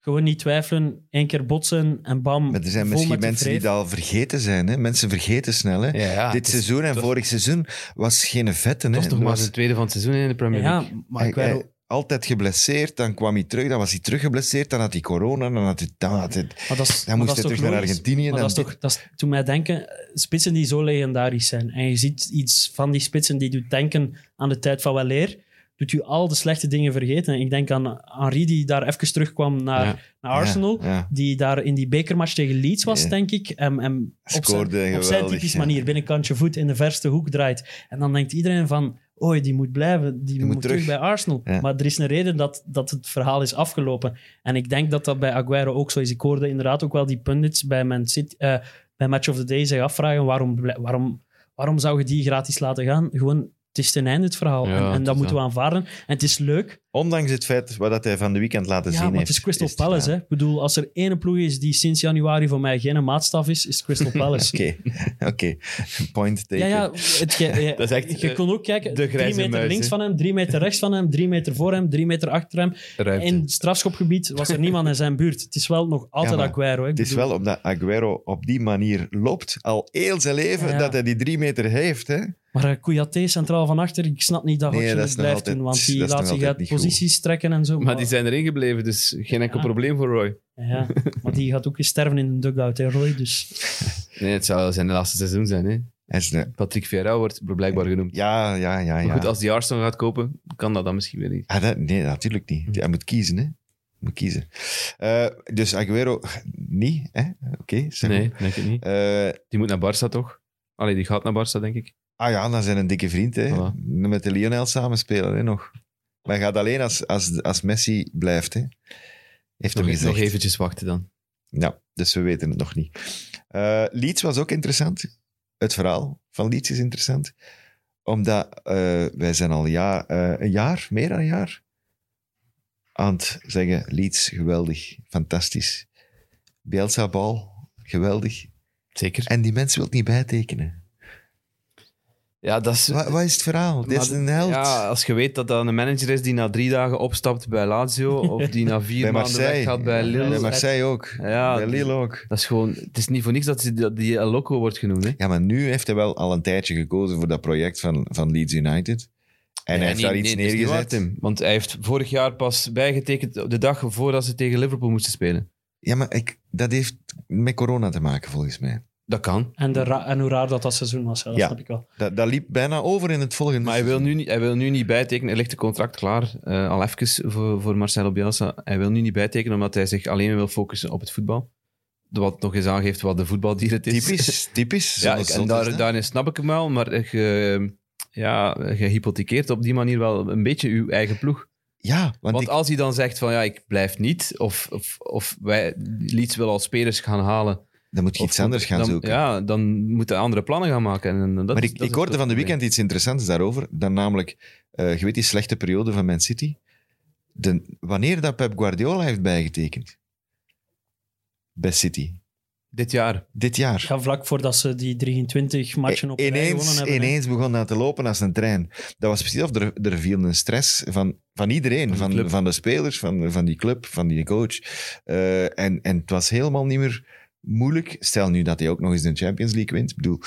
D: Gewoon niet twijfelen, één keer botsen en bam.
B: Maar er zijn
D: vol
B: misschien
D: met de
B: mensen die
D: vreef.
B: dat al vergeten zijn. Hè? Mensen vergeten snel. Hè?
C: Ja,
D: Ah,
C: ja,
B: Dit
C: het is-
B: seizoen en
C: het was-
B: vorig seizoen was geen vette.
C: Het
B: hè.
C: was nog
B: Er
C: maar
B: was-
C: zijn tweede van het seizoen in de Premier League.
D: Ja, maar
B: Hij-
D: Aguero...
B: hij- altijd geblesseerd, dan kwam hij terug, dan was hij terug geblesseerd, dan had hij corona, dan, had hij, dan, had hij,
D: Maar dat
B: dan
D: is, maar
B: moest
D: dat
B: hij
D: is toch
B: terug naar
D: logisch?
B: Argentinië.
D: Maar
B: Dan
D: dat is toch, dat is, toen mij denken, eh, spitsen die zo legendarisch zijn. En je ziet iets van die spitsen die doet denken aan de tijd van Weleer. doet u al de slechte dingen vergeten. Ik denk aan Henri, die daar even terugkwam naar,
C: Ja.
D: naar Arsenal.
B: Ja, ja.
D: Die daar in die bekermatch tegen Leeds was,
B: Ja.
D: denk ik. En, en op, zijn,
B: Scoorde
D: op zijn
B: geweldig,
D: typische
B: ja.
D: manier, binnenkantje voet in de verste hoek draait. En dan denkt iedereen van, oei, die moet blijven, die,
B: moet
D: moet terug bij
B: terug.
D: Arsenal.
B: Ja.
D: Maar er is een reden dat, dat het verhaal is afgelopen. En ik denk dat dat bij Aguero ook zo is. Ik hoorde inderdaad ook wel die pundits bij, Man City, eh, bij Match of the Day zich afvragen waarom, blij- waarom, waarom zou je die gratis laten gaan? Gewoon, het is ten einde het verhaal.
C: Ja,
D: en en
C: het
D: dat
C: is
D: moeten we aanvaarden. En het is leuk,
B: Ondanks het feit wat dat hij van de weekend laten
D: ja,
B: zien
D: maar
B: heeft.
D: het is Crystal
B: gedaan.
D: Palace. Hè. Ik bedoel, als er één ploeg is die sinds januari voor mij geen maatstaf is, is het Crystal Palace.
B: Oké, oké. Point taken.
D: ja, ja, het, ge- ja,
C: Dat is echt,
D: je
C: eh,
D: kon ook kijken,
C: de
D: drie
C: grijze
D: meter
C: muis,
D: links
C: hè.
D: van hem, drie meter rechts van hem, drie meter voor hem, drie meter achter hem.
C: Ruimte.
D: In het strafschopgebied was er niemand in zijn buurt. Het is wel nog altijd
B: maar
D: Aguero. hè. Ik
B: Het is
D: bedoel,
B: wel omdat Aguero op die manier loopt, al heel zijn leven,
D: Ja.
B: dat hij die drie meter heeft. Hè?
D: Maar uh, centraal van achter, ik snap niet dat
B: Nee,
D: Hodgson
B: dat is
D: het
B: nog
D: blijft
B: altijd-
D: doen, want
B: dat
D: die
B: is nog
D: laat zich
B: altijd
D: uit
B: niet goed.
D: posities trekken en zo.
C: Maar die zijn erin gebleven, dus geen enkel
D: Ja.
C: probleem voor Roy.
D: Ja, maar die gaat ook eens sterven in een dugout, hè, Roy. Dus
C: Nee, het zou zijn laatste seizoen zijn. Hè?
B: Hij is een-
C: Patrick Vieira wordt blijkbaar genoemd.
B: ja, ja, ja. ja.
C: Maar goed, als die Arsenal gaat kopen, kan dat dan misschien weer niet.
B: Ah, dat, nee, natuurlijk
C: Hm.
B: niet. Hij moet kiezen, hè. Moet kiezen. Eh, dus Aguero, niet, hè? Oké, zeg maar.
C: Nee, denk ik niet.
B: Eh,
C: Die moet naar Barça toch? Allee, die gaat naar Barça, denk ik.
B: ah ja, dan zijn een dikke vriend, hè.
C: Voilà.
B: Met de Lionel samenspelen, hè, nog. Maar hij gaat alleen als, als, als Messi blijft, hè. Heeft
C: Nog,
B: hem
C: nog
B: gezegd.
C: eventjes wachten dan.
B: Nou, dus we weten het nog niet. Eh, Leeds was ook interessant. Het verhaal van Leeds is interessant. Omdat eh, wij zijn al ja, eh, een jaar, meer dan een jaar, aan het zeggen Leeds, geweldig, fantastisch. Bielsa bal, geweldig.
C: Zeker.
B: En die mensen wil het niet bijtekenen.
C: Ja, dat is...
B: Wa- Wat, is het verhaal? Dit is
C: Maar-
B: een held.
C: Ja, als je weet dat dat een manager is die na drie dagen opstapt bij Lazio, of die na vier
B: bij
C: maanden
B: Marseille.
C: weggaat bij Lille.
B: Bij Marseille ook.
C: Ja,
B: bij Lille ook.
C: Dat is gewoon... Het is niet voor niks dat die, dat die El Loco wordt genoemd, hè.
B: Ja, maar nu heeft hij wel al een tijdje gekozen voor dat project van, van Leeds United. En hij
C: Nee,
B: heeft
C: nee,
B: daar iets
C: nee, dat is
B: neergezet.
C: niet waar, Tim. want hij heeft vorig jaar pas bijgetekend op de dag voordat ze tegen Liverpool moesten spelen.
B: Ja, maar ik, dat heeft met corona te maken, volgens mij.
C: Dat kan.
D: en, de ra- en hoe raar dat dat seizoen was, ja, dat
B: Ja.
D: snap ik wel.
B: Dat, dat liep bijna over in het volgende.
C: Maar hij wil nu niet, hij wil nu niet bijtekenen. Er ligt een contract klaar, eh, al even voor, voor Marcelo Bielsa. Hij wil nu niet bijtekenen omdat hij zich alleen wil focussen op het voetbal. Wat nog eens aangeeft wat de voetbaldier het is.
B: Typisch, typisch.
C: Ja,
B: Zoals
C: ik- en
B: zot
C: daar,
B: is, hè?
C: daarin snap ik hem wel, maar je, ja, je hypothekeert op die manier wel een beetje uw eigen ploeg.
B: Ja, want,
C: Want,
B: ik,
C: als hij dan zegt van ja, ik blijf niet, of, of, of wij, Leeds wil al spelers gaan halen,
B: dan moet je
C: of
B: iets anders gaan
C: dan,
B: zoeken.
C: Ja, dan moeten andere plannen gaan maken. En, en dat
B: maar
C: is-
B: ik,
C: dat
B: ik
C: is
B: hoorde van
C: het
B: de
C: probleem.
B: weekend iets interessants daarover. Dan namelijk, eh, je weet die slechte periode van Man City. De, wanneer dat Pep Guardiola heeft bijgetekend. Bij City.
C: Dit jaar.
B: Dit jaar.
D: Ja, vlak voordat ze die 23 matchen op rij
B: E,
D: gewonnen
B: ineens,
D: hebben. hè.
B: ineens begon dat te lopen als een trein. Dat was precies of er, er viel een stress van, van iedereen.
C: Van de
B: Van,
C: club.
B: van, de spelers, van, van die club, van die coach. Eh, en, en het was helemaal niet meer moeilijk. Stel nu dat hij ook nog eens de Champions League wint. Ik bedoel,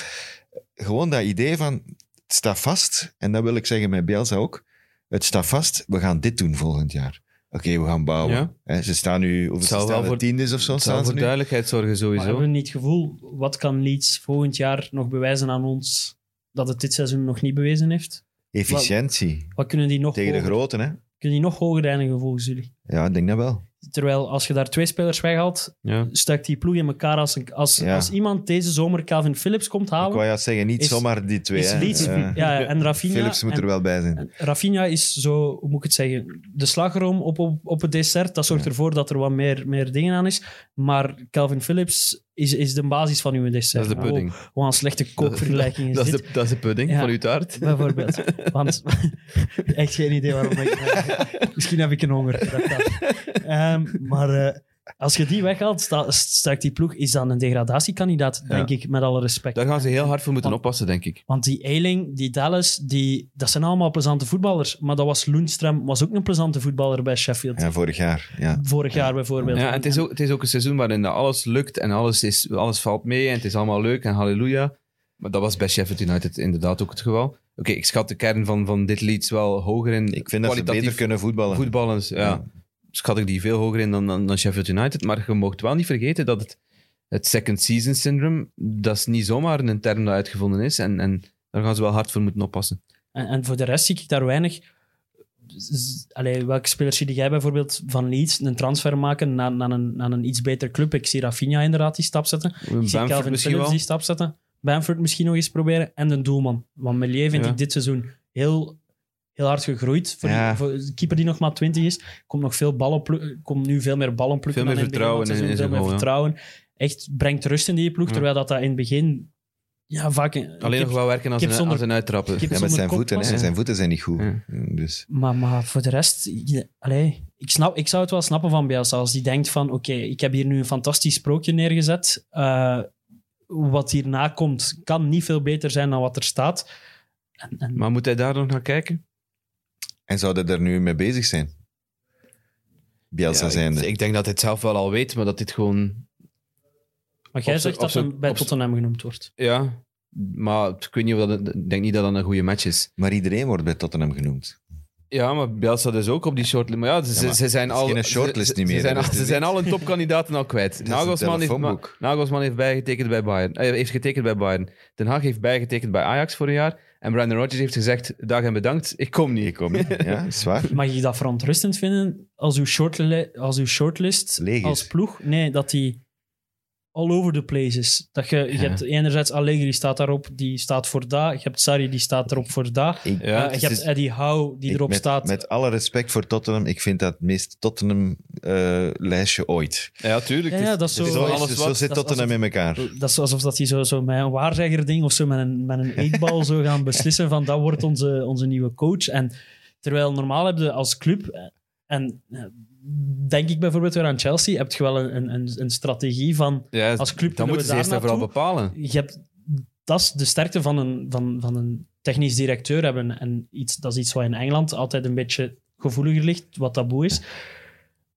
B: gewoon dat idee van, het staat vast. En dat wil ik zeggen met Bielsa ook. Het staat vast, we gaan dit doen volgend jaar. Oké, we gaan bouwen.
C: Ja.
B: Hè, ze staan nu, hoeveel
C: Het
B: ze
C: zou wel
B: staan
C: voor-
B: voor tiendes of zo?
C: Het zou
B: Staan ze
C: voor
B: nu?
C: duidelijkheid zorgen
D: Maar
C: sowieso.
D: hebben we niet het gevoel, wat kan Leeds volgend jaar nog bewijzen aan ons dat het dit seizoen nog niet bewezen heeft?
B: Efficiëntie.
D: Wat kunnen die nog,
B: Tegen de
C: Oh.
D: hoger,
B: grote, hè?
D: kunnen die nog hoger eindigen volgens jullie?
B: Ja, ik denk dat wel.
D: Terwijl als je daar twee spelers weghaalt,
C: Ja.
D: stuikt die ploeg in elkaar. Als, een- als,
B: Ja.
D: als iemand deze zomer Calvin Phillips komt
B: Ik wou
D: halen,
B: juist zeggen, niet
D: Is-
B: zomaar die twee.
D: is
B: hè.
D: Leeds...
B: Eh,
D: ja, en Rafinha...
B: Philips moet
D: en-
B: er wel bij zijn.
D: Rafinha is zo, hoe moet ik het zeggen, de slagroom op, op, op het dessert. Dat zorgt ervoor dat er wat meer, meer dingen aan is. Maar Calvin Phillips is, is de basis van uw
C: Dat
D: dessert.
C: is de pudding.
D: Wow, wat een slechte kookvergelijking is
C: dat, is
D: dit.
C: de, dat is de pudding
D: Ja.
C: van uw taart.
D: Bijvoorbeeld. Want, echt geen idee waarom ik... Misschien heb ik een honger. dat kan. Ehm, maar eh, als je die weghaalt, sta, staat die ploeg, is dan een degradatiekandidaat, denk ik, met alle respect.
C: Daar gaan ze heel hard voor moeten
D: Want-
C: oppassen, denk ik.
D: Want die Eiling, die Dallas, die, dat zijn allemaal plezante voetballers. Maar dat was Lundström, was ook een plezante voetballer bij Sheffield.
B: Ja, vorig jaar. Ja.
D: Vorig jaar bijvoorbeeld.
C: Ja, en het, is ook, het is ook een seizoen waarin dat alles lukt en alles, is, alles valt mee en het is allemaal leuk en halleluja. Maar dat was bij Sheffield United inderdaad ook het geval. Oké, ik schat de kern van, van dit Leeds wel hoger in.
B: Ik vind dat ze
C: kwalitatief
B: beter kunnen voetballen.
C: voetballers. Ja.
B: Ja.
C: dus, eh, Schat ik die veel hoger in dan, dan, dan Sheffield United. Maar je mocht wel niet vergeten dat het, het second season syndrome, dat is niet zomaar een term dat uitgevonden is. En, en daar gaan ze wel hard voor moeten oppassen.
D: En, en voor de rest zie ik daar weinig z- allee, welke spelers zie jij bijvoorbeeld van Leeds een transfer maken naar, naar, een, naar een iets beter club? Ik zie Rafinha inderdaad die stap zetten. Ik zie
C: Bamford
D: Calvin
C: misschien
D: Phillips
C: wel.
D: die stap zetten. Bamford misschien nog eens proberen. En de doelman. Want Melier vind
C: Ja.
D: ik dit seizoen heel, heel hard gegroeid. Voor,
B: Ja.
D: die, voor een keeper die nog maar 20 is, komt, nog veel ballen plu- komt nu veel meer ballen plukken.
C: Veel meer
D: dan in het
C: vertrouwen in-
D: begin van het seizoen,
C: in
D: veel
C: zijn
D: meer
C: goal, ja.
D: vertrouwen. Echt brengt rust in die ploeg.
C: Ja.
D: Terwijl dat, dat in het begin ja, vaak... een-
C: Alleen nog
D: kip-
C: wel werken als
D: kip
C: een,
D: zonder-
C: als een uittrapper.
D: kip-
B: Ja, met
D: zonder
B: zijn
D: kop
B: voeten, hè.
D: passen.
B: Zijn voeten zijn niet goed.
C: Ja.
B: Dus...
D: Maar, maar voor de rest, je- allee, ik, snap, ik zou het wel snappen van Bielsa. Als die denkt van, oké, ik heb hier nu een fantastisch sprookje neergezet. eh, wat hierna komt, kan niet veel beter zijn dan wat er staat. En, en,
C: Maar moet hij daar nog naar kijken?
B: En zouden er nu mee bezig zijn? Bielsa
C: Ja,
B: zijn.
C: ik, ik denk dat hij het zelf wel al weet, maar dat dit gewoon...
D: maar jij
C: op z'n-
D: zegt dat
C: op z'n-
D: hem bij
C: op z'n-
D: Tottenham genoemd wordt.
C: Ja, maar ik weet niet of dat... Ik denk niet dat dat een goede match is.
B: Maar iedereen wordt bij Tottenham genoemd.
C: Ja, maar Bielsa dus ook op die shortlist. Maar ja, ze,
B: Ja, maar
C: ze zijn
B: het is
C: al...
B: geen shortlist
C: ze-
B: niet meer,
C: Ze zijn,
B: hè,
C: al-
B: dat is
C: ze zijn al hun topkandidaten al kwijt.
B: is een
C: Nagelsman heeft, ma-
B: telefoonboek.
C: Nagelsman heeft bijgetekend bij Bayern. eh, heeft getekend bij Bayern. Den Haag heeft bijgetekend bij Ajax voor een jaar. En Brandon Rodgers heeft gezegd, dag en bedankt, ik kom niet.
B: Ik kom niet. Ja, is waar.
D: Mag je dat verontrustend vinden als uw, shortli- als uw shortlist
B: Leeg is.
D: als ploeg? Nee, dat die all over the place is. Dat je, je
C: Ja.
D: hebt enerzijds Allegri staat daarop, die staat voor daar. Je hebt Sarri, die staat erop voor daar.
B: Ik,
C: Ja,
D: Eh,
C: het
D: je hebt
C: is-
D: Eddie Howe, die
B: ik-
D: erop
B: met,
D: staat.
B: Met alle respect voor Tottenham, ik vind dat het meest Tottenham-lijstje ooit.
C: Ja, tuurlijk.
D: Ja,
C: het
D: ja, dus dat is
B: Zo,
D: zo.
C: wel
B: is-
C: alles
B: zo
C: wat-
B: zit
D: dat is
B: Tottenham in elkaar.
D: Dat is alsof dat die zo, zo met een waarzegger ding of zo met een, met een eetbal zo gaan beslissen van dat wordt onze, onze nieuwe coach. En terwijl normaal heb je als club, eh, en eh, denk ik bijvoorbeeld weer aan Chelsea, heb je wel een, een- een, een strategie van,
C: Ja,
D: als club
C: dan
D: willen
C: moeten
D: we
C: ze
D: daar
C: eerst en vooral
D: naartoe.
C: bepalen.
D: je hebt, dat is de sterkte van een, van, van een technisch directeur hebben. En iets, dat is iets wat in Engeland altijd een beetje gevoeliger ligt, wat taboe is.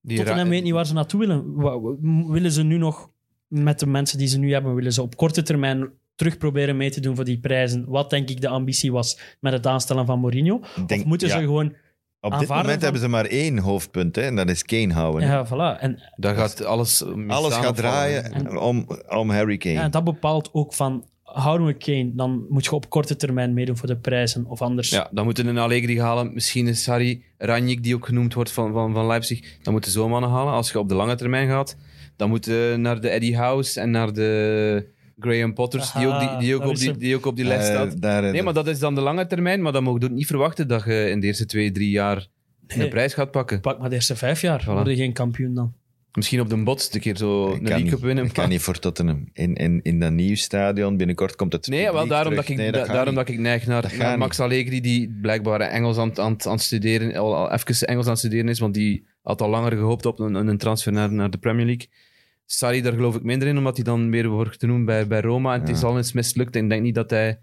C: Die
D: Tottenham
C: ra-
D: weet niet waar ze naartoe willen. Wa- wa- m- Willen ze nu nog met de mensen die ze nu hebben, willen ze op korte termijn terug proberen mee te doen voor die prijzen? Wat denk ik de ambitie was met het aanstellen van Mourinho?
B: Ik denk-
D: of moeten
B: ja,
D: ze gewoon...
B: op dit
D: aanvaarden
B: moment
D: van-
B: hebben ze maar één hoofdpunt, hè, en dat is Kane houden.
D: Ja, voilà. En,
C: Daar gaat alles mee
B: Alles
C: staan
B: gaat
C: of vallen.
B: draaien
D: En-
B: om, om Harry Kane.
D: ja, dat bepaalt ook van, houden we Kane, dan moet je op korte termijn meedoen voor de prijzen, of anders.
C: Ja, dan moeten we een Allegri halen. Misschien is Sarri Ranjik, die ook genoemd wordt van, van, van Leipzig. Dan moeten zo'n mannen halen. Als je op de lange termijn gaat, dan moeten naar de Eddie House en naar de Graham Potters, die ook, die,
D: Aha,
C: die, ook
D: daar
C: op
D: is
C: die,
D: hem.
C: die ook op die
B: Eh,
C: lijst staat.
B: daar, eh,
C: Nee, maar dat is dan de lange termijn. Maar dan mogen we ook niet verwachten dat je in de eerste twee, drie jaar de
D: Nee.
C: prijs gaat pakken.
D: Pak maar de eerste vijf jaar,
C: Voilà.
D: word je geen kampioen dan.
C: Misschien op de botst een keer zo
B: Ik
C: een
B: eh, kan,
C: League Cup winnen.
B: ik kan niet voor Tottenham. In, in, in dat nieuwe stadion, binnenkort komt het
C: Nee,
B: publiek
C: wel daarom,
B: terug.
C: dat ik,
B: Nee,
C: da-
B: gaat
C: daarom
B: niet.
C: dat ik neig
B: Dat
C: naar,
B: gaat
C: naar Max Allegri, die blijkbaar Engels aan, het- aan, het- aan het studeren, al, al even Engels aan het studeren is, want die had al langer gehoopt op een, een transfer naar, naar de Premier League. Sarri, daar geloof ik minder in, omdat hij dan weer wordt genoemd bij, bij Roma. En het
B: Ja.
C: is al eens mislukt. En ik denk niet dat hij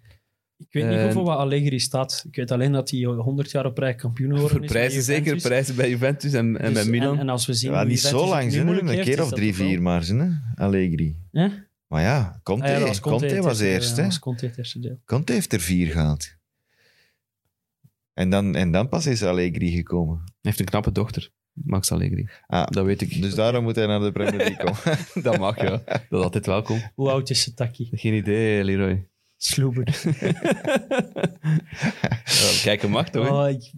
D: Ik weet niet
B: Ehm.
C: Eh,
D: hoeveel wat Allegri staat. Ik weet alleen dat hij 100 jaar op rij kampioen geworden
C: voor
D: is.
C: prijzen,
D: bij Juventus.
C: zeker prijzen bij Juventus en, en
D: Dus-
C: bij Milan.
D: En, en als we zien
B: Ja,
D: hoe
B: niet zo
D: Juventus het
B: lang,
D: nu
B: hè.
D: moeilijk
B: een
D: heeft,
B: keer
D: is
B: of
D: dat
B: drie,
D: toch wel-
B: vier maar, hè, Allegri.
D: Ja?
B: Maar ja, Conte,
D: Ah ja, dat was
B: Conte,
D: Conte, het
B: was
D: eerste-
B: eerst.
D: ja,
B: hè.
D: was Conte het eerste deel.
B: Conte heeft er vier gehaald. En dan, en dan pas is Allegri gekomen.
C: Hij heeft een knappe dochter, Max Allegri.
B: Ah,
C: Dat weet ik.
B: dus daarom moet hij naar de Premier League komen.
C: dat mag, ja. Dat is altijd welkom.
D: Hoe oud is Taki?
C: Geen idee, Leroy.
D: Sloeber.
C: Ja, kijken mag, toch? hè?
D: Oh, ik,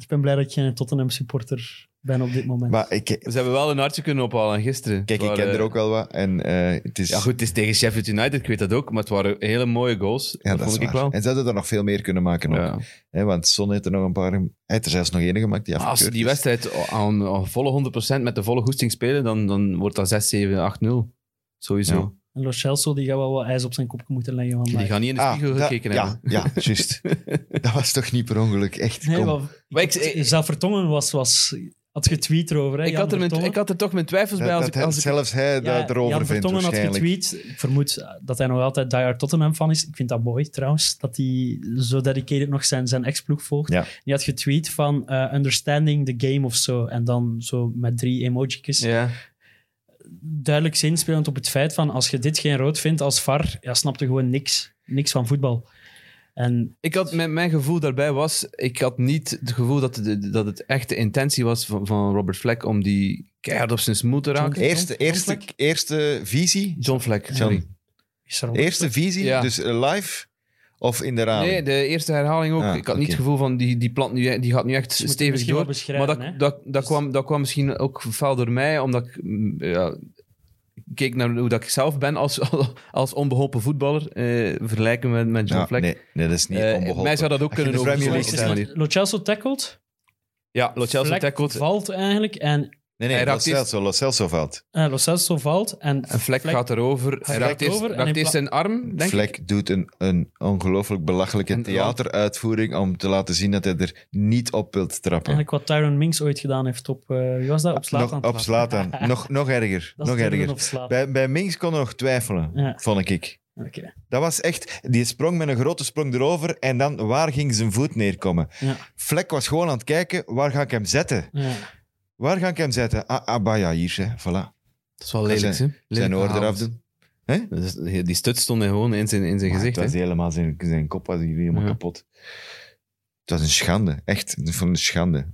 D: ik ben blij dat ik geen Tottenham supporter ben op dit moment.
B: maar ik,
C: Ze hebben wel een hartje kunnen ophalen gisteren.
B: kijk, ik
C: Waar,
B: ken
C: eh,
B: er ook wel wat. En eh, het is...
C: Ja, goed, het is tegen Sheffield United, ik weet dat ook. Maar het waren hele mooie goals.
B: Ja,
C: dat,
B: dat is
C: vond ik
B: waar.
C: wel.
B: En ze hadden er nog veel meer kunnen maken. Ook,
C: Ja.
B: hè, want Son heeft er nog een paar... Hij heeft er zelfs nog één gemaakt. Die
C: Maar Als ze
B: afgekeurd
C: die
B: is.
C: wedstrijd aan, aan volle 100% met de volle goesting spelen, dan, dan wordt dat 6-7, 8-0. Sowieso.
B: Ja.
D: En Lo Celso die gaat wel wat ijs op zijn kop moeten leggen
C: Die
D: vandaag.
C: gaan niet in de
B: Ah,
C: spiegel
B: dat-
C: gekeken
B: ja,
C: hebben.
B: ja, juist. dat was toch niet per ongeluk, echt.
D: Nee,
B: kom.
D: maar,
C: Maar ik,
D: ik,
C: ik,
D: zelf Vertongen was, was, had getweet erover. Hè,
C: ik
D: Jan
C: had er mijn,
D: Vertongen.
C: ik had er toch mijn twijfels bij.
B: Dat-
C: Als
B: dat
C: ik,
B: hij-
C: als ik,
B: zelfs hij
D: Ja,
B: dat erover
D: Jan
B: vindt
D: Vertongen had
B: waarschijnlijk.
D: getweet. Ik vermoed dat hij nog altijd Die Hard Tottenham fan is. Ik vind dat mooi trouwens, dat hij zo dedicated nog zijn, zijn ex-ploeg volgt.
B: Ja.
D: Die had getweet van eh, understanding the game of zo. En dan zo met drie emojicjes.
C: ja.
D: duidelijk zinspelend op het feit van als je dit geen rood vindt als VAR, ja, snap je gewoon niks. Niks van voetbal. En
C: ik had, mijn, mijn gevoel daarbij was, ik had niet het gevoel dat, de, dat het echt de intentie was van, van Robert Fleck om die keihard op zijn smoel te raken.
B: Eerste, eerste,
D: Fleck?
B: eerste visie.
C: John Fleck,
B: John.
C: sorry.
D: is er ook-
B: Eerste visie,
C: Ja.
B: dus eh, live. Of in de raam?
C: Nee, de eerste herhaling ook.
B: Ah,
C: ik had niet
B: oké.
C: het gevoel van die, die plant nu, die gaat nu echt
D: moet je
C: stevig
D: misschien wel
C: door.
D: beschrijven,
C: Maar dat,
D: hè? Dus-
C: dat, dat, kwam, dat kwam misschien ook fel door mij, omdat ik mm, ja, keek naar hoe dat ik zelf ben als, als onbeholpen voetballer. eh vergelijken met, met John
B: Ja,
C: Vlek.
B: nee, nee, dat is niet
C: Eh,
B: onbeholpen.
C: mij zou dat ook
B: Als je
C: kunnen
B: de Premier
C: overzien.
B: League
C: Op deze
B: staat-
C: manier.
D: Lo Celso tackled.
C: Ja, Lo Celso
D: Vlek
C: tackelt
D: valt eigenlijk en
B: Nee, nee,
C: Hij
B: Lo
C: raakt eerst-
B: Celso, Lo Celso valt.
D: eh Lo Celso valt en
C: en Vlek, gaat erover. Hij
D: raakt
C: raakt eerst,
D: over en
C: raakt
D: in
C: eerst
D: pla-
C: zijn arm, denk ik.
B: Vlek doet een, een ongelooflijk belachelijke
C: En-
B: theateruitvoering om te laten zien dat hij er niet op wilt trappen.
D: eigenlijk wat Tyron Minks ooit gedaan heeft op eh, wie was dat? Op Slatan.
B: Nog, op Slatan. nog, nog erger.
D: Dat is
B: nog
D: te doen
B: erger.
D: op Zlatan.
B: Bij, bij Minks kon nog twijfelen,
D: Ja.
B: vond ik.
D: Oké.
B: Dat was echt... Die sprong met een grote sprong erover en dan waar ging zijn voet neerkomen?
D: Ja.
B: Vlek was gewoon aan het kijken, waar ga ik hem zetten?
D: Ja.
B: Waar ga ik hem zetten? Ah, ah bah ja, hier, hè. voilà.
C: Dat is wel lelijk, hè?
B: Zijn
C: Lelijk
B: oor
C: gehaald.
B: eraf doen.
C: Dat is- Die stut stond gewoon in zijn, in zijn gezicht.
B: Ah, het was
C: hè.
B: helemaal zijn, zijn kop was hier helemaal
C: Ja.
B: kapot. Het was een schande, echt. Ik vond het een schande.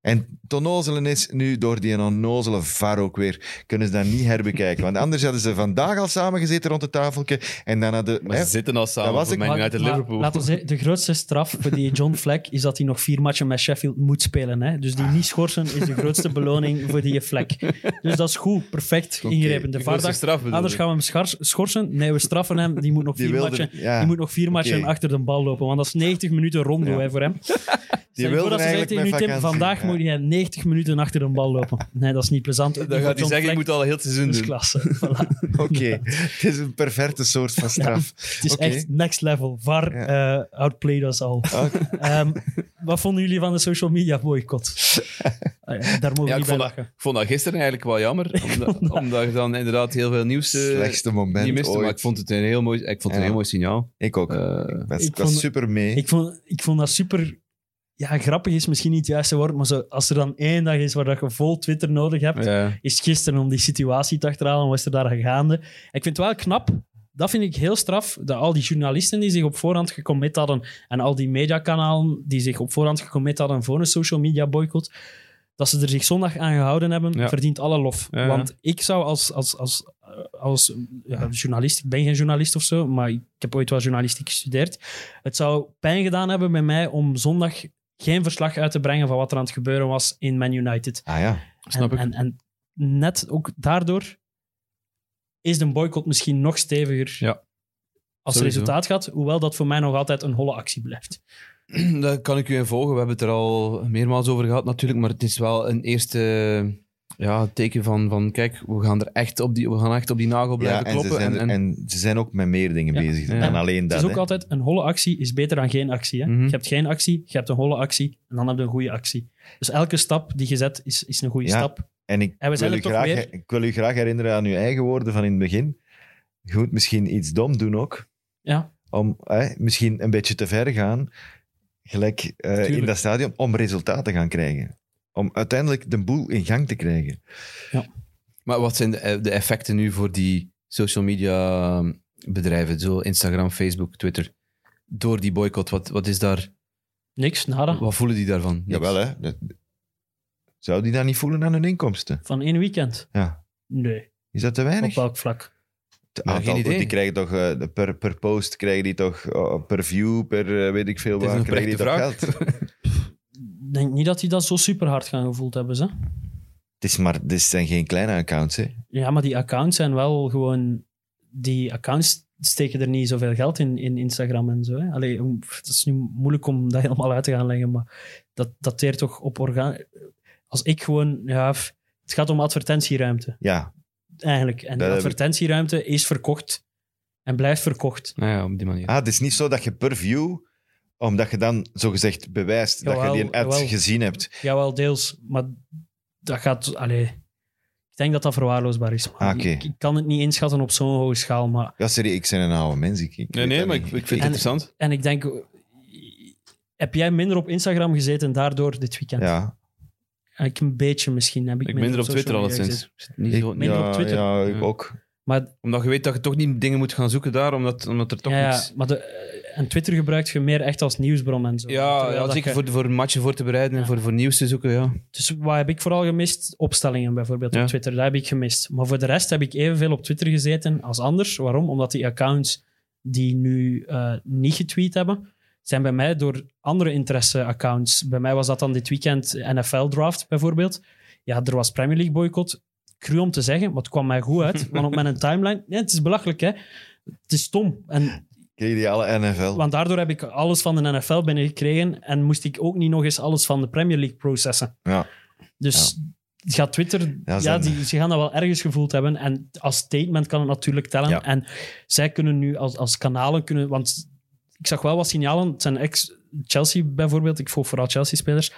B: En tonozelen is nu door die onnozele VAR ook weer. Kunnen ze dat niet herbekijken? Want anders hadden ze vandaag al samengezeten rond het tafeltje. En dan hadden.
C: Maar
B: hè,
C: ze zitten al samen
B: dat was
C: voor
B: ik.
C: Man United
D: Maar-
C: Liverpool.
D: Laten we zeggen, de grootste straf voor die John Fleck is dat hij nog vier matchen met Sheffield moet spelen. Hè? Dus die niet schorsen is de grootste beloning voor die Fleck. Dus dat is goed, perfect ingrepen.
C: De
D: De VAR
C: grootste
D: dacht,
C: straf bedoel
D: Anders
C: ik.
D: gaan we hem schars- schorsen. Nee, we straffen hem. Die moet nog
B: Die
D: vier,
B: wilde-
D: matchen,
B: ja.
D: die moet nog vier matchen
B: Oké.
D: achter de bal lopen. Want dat is 90 minuten rondo
B: Ja.
D: hè, voor hem. Stel je
B: wilde
D: voor dat ze zeggen
B: eigenlijk
D: tegen u,
B: met
D: Tim,
B: vakantie,
D: vandaag
B: ja.
D: moet jij 90 minuten achter de bal lopen. Nee, dat is niet plezant. Ook
C: Dan
D: niet
C: gaat hij
D: voor John
C: zeggen, ik moet
D: Fleck. Dus
C: al heel het seizoen
D: Dat is
C: doen.
D: klasse. Voilà.
B: Oké, het is een perverte soort van straf.
D: Het is
B: Oké.
D: echt next level. VAR eh, outplayed us all. Ehm, wat vonden jullie van de social media boycott? Ah ja, daar mogen we
C: Ja, ik
D: niet bij
C: vond dat, ik
D: lachen.
C: vond dat gisteren eigenlijk wel jammer. Omdat, omdat je dan inderdaad heel veel nieuws eh,
B: Slechtste moment.
C: niet miste. Maar
B: ooit.
C: ik vond het een heel mooi, ik vond het
B: Ja.
C: een heel mooi signaal.
B: Ik ook.
C: Eh,
B: ik was,
D: ik
B: ik was
D: vond-
B: super mee.
D: Ik vond, ik vond dat super... Ja, grappig is misschien niet het juiste woord, maar zo, als er dan één dag is waar dat je vol Twitter nodig hebt,
C: ja.
D: is gisteren om die situatie te achterhalen, was er daar gaande. Ik vind het wel knap, dat vind ik heel straf, dat al die journalisten die zich op voorhand gecommit hadden en al die mediakanalen die zich op voorhand gecommit hadden voor een social media boycott, dat ze er zich zondag aan gehouden hebben,
C: Ja.
D: verdient alle lof.
C: Ja, ja.
D: Want ik zou als, als, als, eh, als ja, journalist, ik ben geen journalist of zo, maar ik heb ooit wel journalistiek gestudeerd, het zou pijn gedaan hebben bij mij om zondag geen verslag uit te brengen van wat er aan het gebeuren was in Man United.
B: Ah ja.
C: Snap
D: en,
C: ik.
D: En, en net ook daardoor is de boycott misschien nog steviger
C: Ja,
D: als
C: sowieso.
D: resultaat gaat. Hoewel dat voor mij nog altijd een holle actie blijft.
C: Daar kan ik u in volgen. We hebben het er al meermaals over gehad natuurlijk. Maar het is wel een eerste ja, teken van, van kijk, we gaan er echt op die, we gaan echt op die nagel blijven
B: ja, en,
C: kloppen.
B: ze zijn,
C: en,
B: er-
C: en,
B: en ze zijn ook met meer dingen
D: Ja.
B: bezig
C: Ja.
B: dan alleen dat.
D: het is ook
B: hè.
D: altijd een holle actie is beter dan geen actie. Hè?
C: Mhm.
D: Je hebt geen actie, je hebt een holle actie en dan heb je een goede actie. Dus elke stap die je zet is, is een goede
B: Ja.
D: stap.
B: En ik
D: En we zijn
B: wil, u
D: er toch
B: graag,
D: weer.
B: ik wil u graag herinneren aan uw eigen woorden van in het begin. Je moet misschien iets dom doen ook.
D: Ja.
B: Om hè, misschien een beetje te ver gaan, gelijk eh, in
D: Tuurlijk.
B: dat stadium, om resultaten te gaan krijgen. Om uiteindelijk de boel in gang te krijgen.
C: Maar wat zijn de, de effecten nu voor die social media eh, bedrijven? Zo Instagram, Facebook, Twitter. Door die boycott, wat, wat is daar...
D: Niks, nada.
C: Wat voelen die daarvan? Niks.
B: Jawel, hè. Dat- Zou die dat niet voelen aan hun inkomsten?
D: Van één weekend?
B: Ja.
D: Nee,
B: Is dat te
D: op
B: weinig?
D: welk vlak?
B: Het
C: Nou,
B: aantal-
C: geen idee.
B: Die krijgen toch eh, per, per post, krijgen die toch eh, per view, per eh, weet ik veel
C: Het is
B: waar,
C: een
B: krijgen die toch
C: oprechte
B: geld? het
D: Ik denk niet dat die dat zo super hard gaan gevoeld hebben. Ze.
B: is maar, dit zijn geen kleine accounts, hè.
D: Ja, maar die accounts zijn wel gewoon... Die accounts steken er niet zoveel geld in, in Instagram en zo. Hè? Allee, om- pff, het is nu moeilijk om dat helemaal uit te gaan leggen, maar dat dateert toch op orgaan... Als ik gewoon... Ja, f- het gaat om advertentieruimte,
B: Ja,
D: eigenlijk. En die
B: Dat heb ik.
D: advertentieruimte is verkocht en blijft verkocht.
C: Nou ja, op die manier.
B: ah, het is niet zo dat je per view, omdat je dan zogezegd bewijst dat
D: Jawel,
B: je die ad
D: jawel.
B: gezien hebt.
D: Jawel, deels, maar dat gaat... Allee, ik denk dat dat verwaarloosbaar is. maar
B: Ah, oké.
D: ik, ik kan het niet inschatten op zo'n hoge schaal, maar
B: Ja, sorry, ik ben een oude mens. Ik, ik
C: nee,
B: weet
C: nee,
B: dat
C: maar ik,
B: niet.
C: ik vind het
D: En-
C: interessant.
D: En ik denk, heb jij minder op Instagram gezeten daardoor dit weekend? Ah,
B: Ja,
D: Ik een beetje misschien. Heb ik,
C: Ik minder op
D: social
C: Twitter
D: media
C: alleszins.
D: gezeten.
C: Niet
B: Ik-
C: zo-
D: minder
B: ja,
D: op Twitter.
B: Ja, ik
C: Ja.
B: ook.
D: Maar,
C: Omdat je weet dat je toch niet dingen moet gaan zoeken daar, omdat, omdat er toch
D: ja, ja,
C: niks...
D: maar de, eh, en Twitter gebruikt je meer echt als nieuwsbron en zo.
C: Ja,
D: Terwijl
C: ja
D: dat
C: zeker
D: je-
C: voor, voor matchen voor te bereiden en voor, voor nieuws te zoeken, ja.
D: Dus wat heb ik vooral gemist? Opstellingen bijvoorbeeld
C: Ja.
D: op Twitter. Dat heb ik gemist. Maar voor de rest heb ik evenveel op Twitter gezeten als anders. Waarom? Omdat die accounts die nu eh, niet getweet hebben, zijn bij mij door andere interesse-accounts. Bij mij was dat dan dit weekend NFL-draft bijvoorbeeld. Ja, er was Premier League boycott. Cru om te zeggen, maar het kwam mij goed uit. Want op mijn timeline, ja, het is belachelijk, hè. Het is stom. En
B: Kreeg die alle NFL.
D: want daardoor heb ik alles van de NFL binnengekregen en moest ik ook niet nog eens alles van de Premier League processen.
B: Ja.
D: Dus gaat Twitter, ja,
B: Ja, zijn-
D: die, ze gaan dat wel ergens gevoeld hebben. En als statement kan het natuurlijk tellen.
B: Ja.
D: En zij kunnen nu als, als kanalen kunnen, want ik zag wel wat signalen. Het zijn ex Chelsea bijvoorbeeld, ik volg vooral Chelsea-spelers,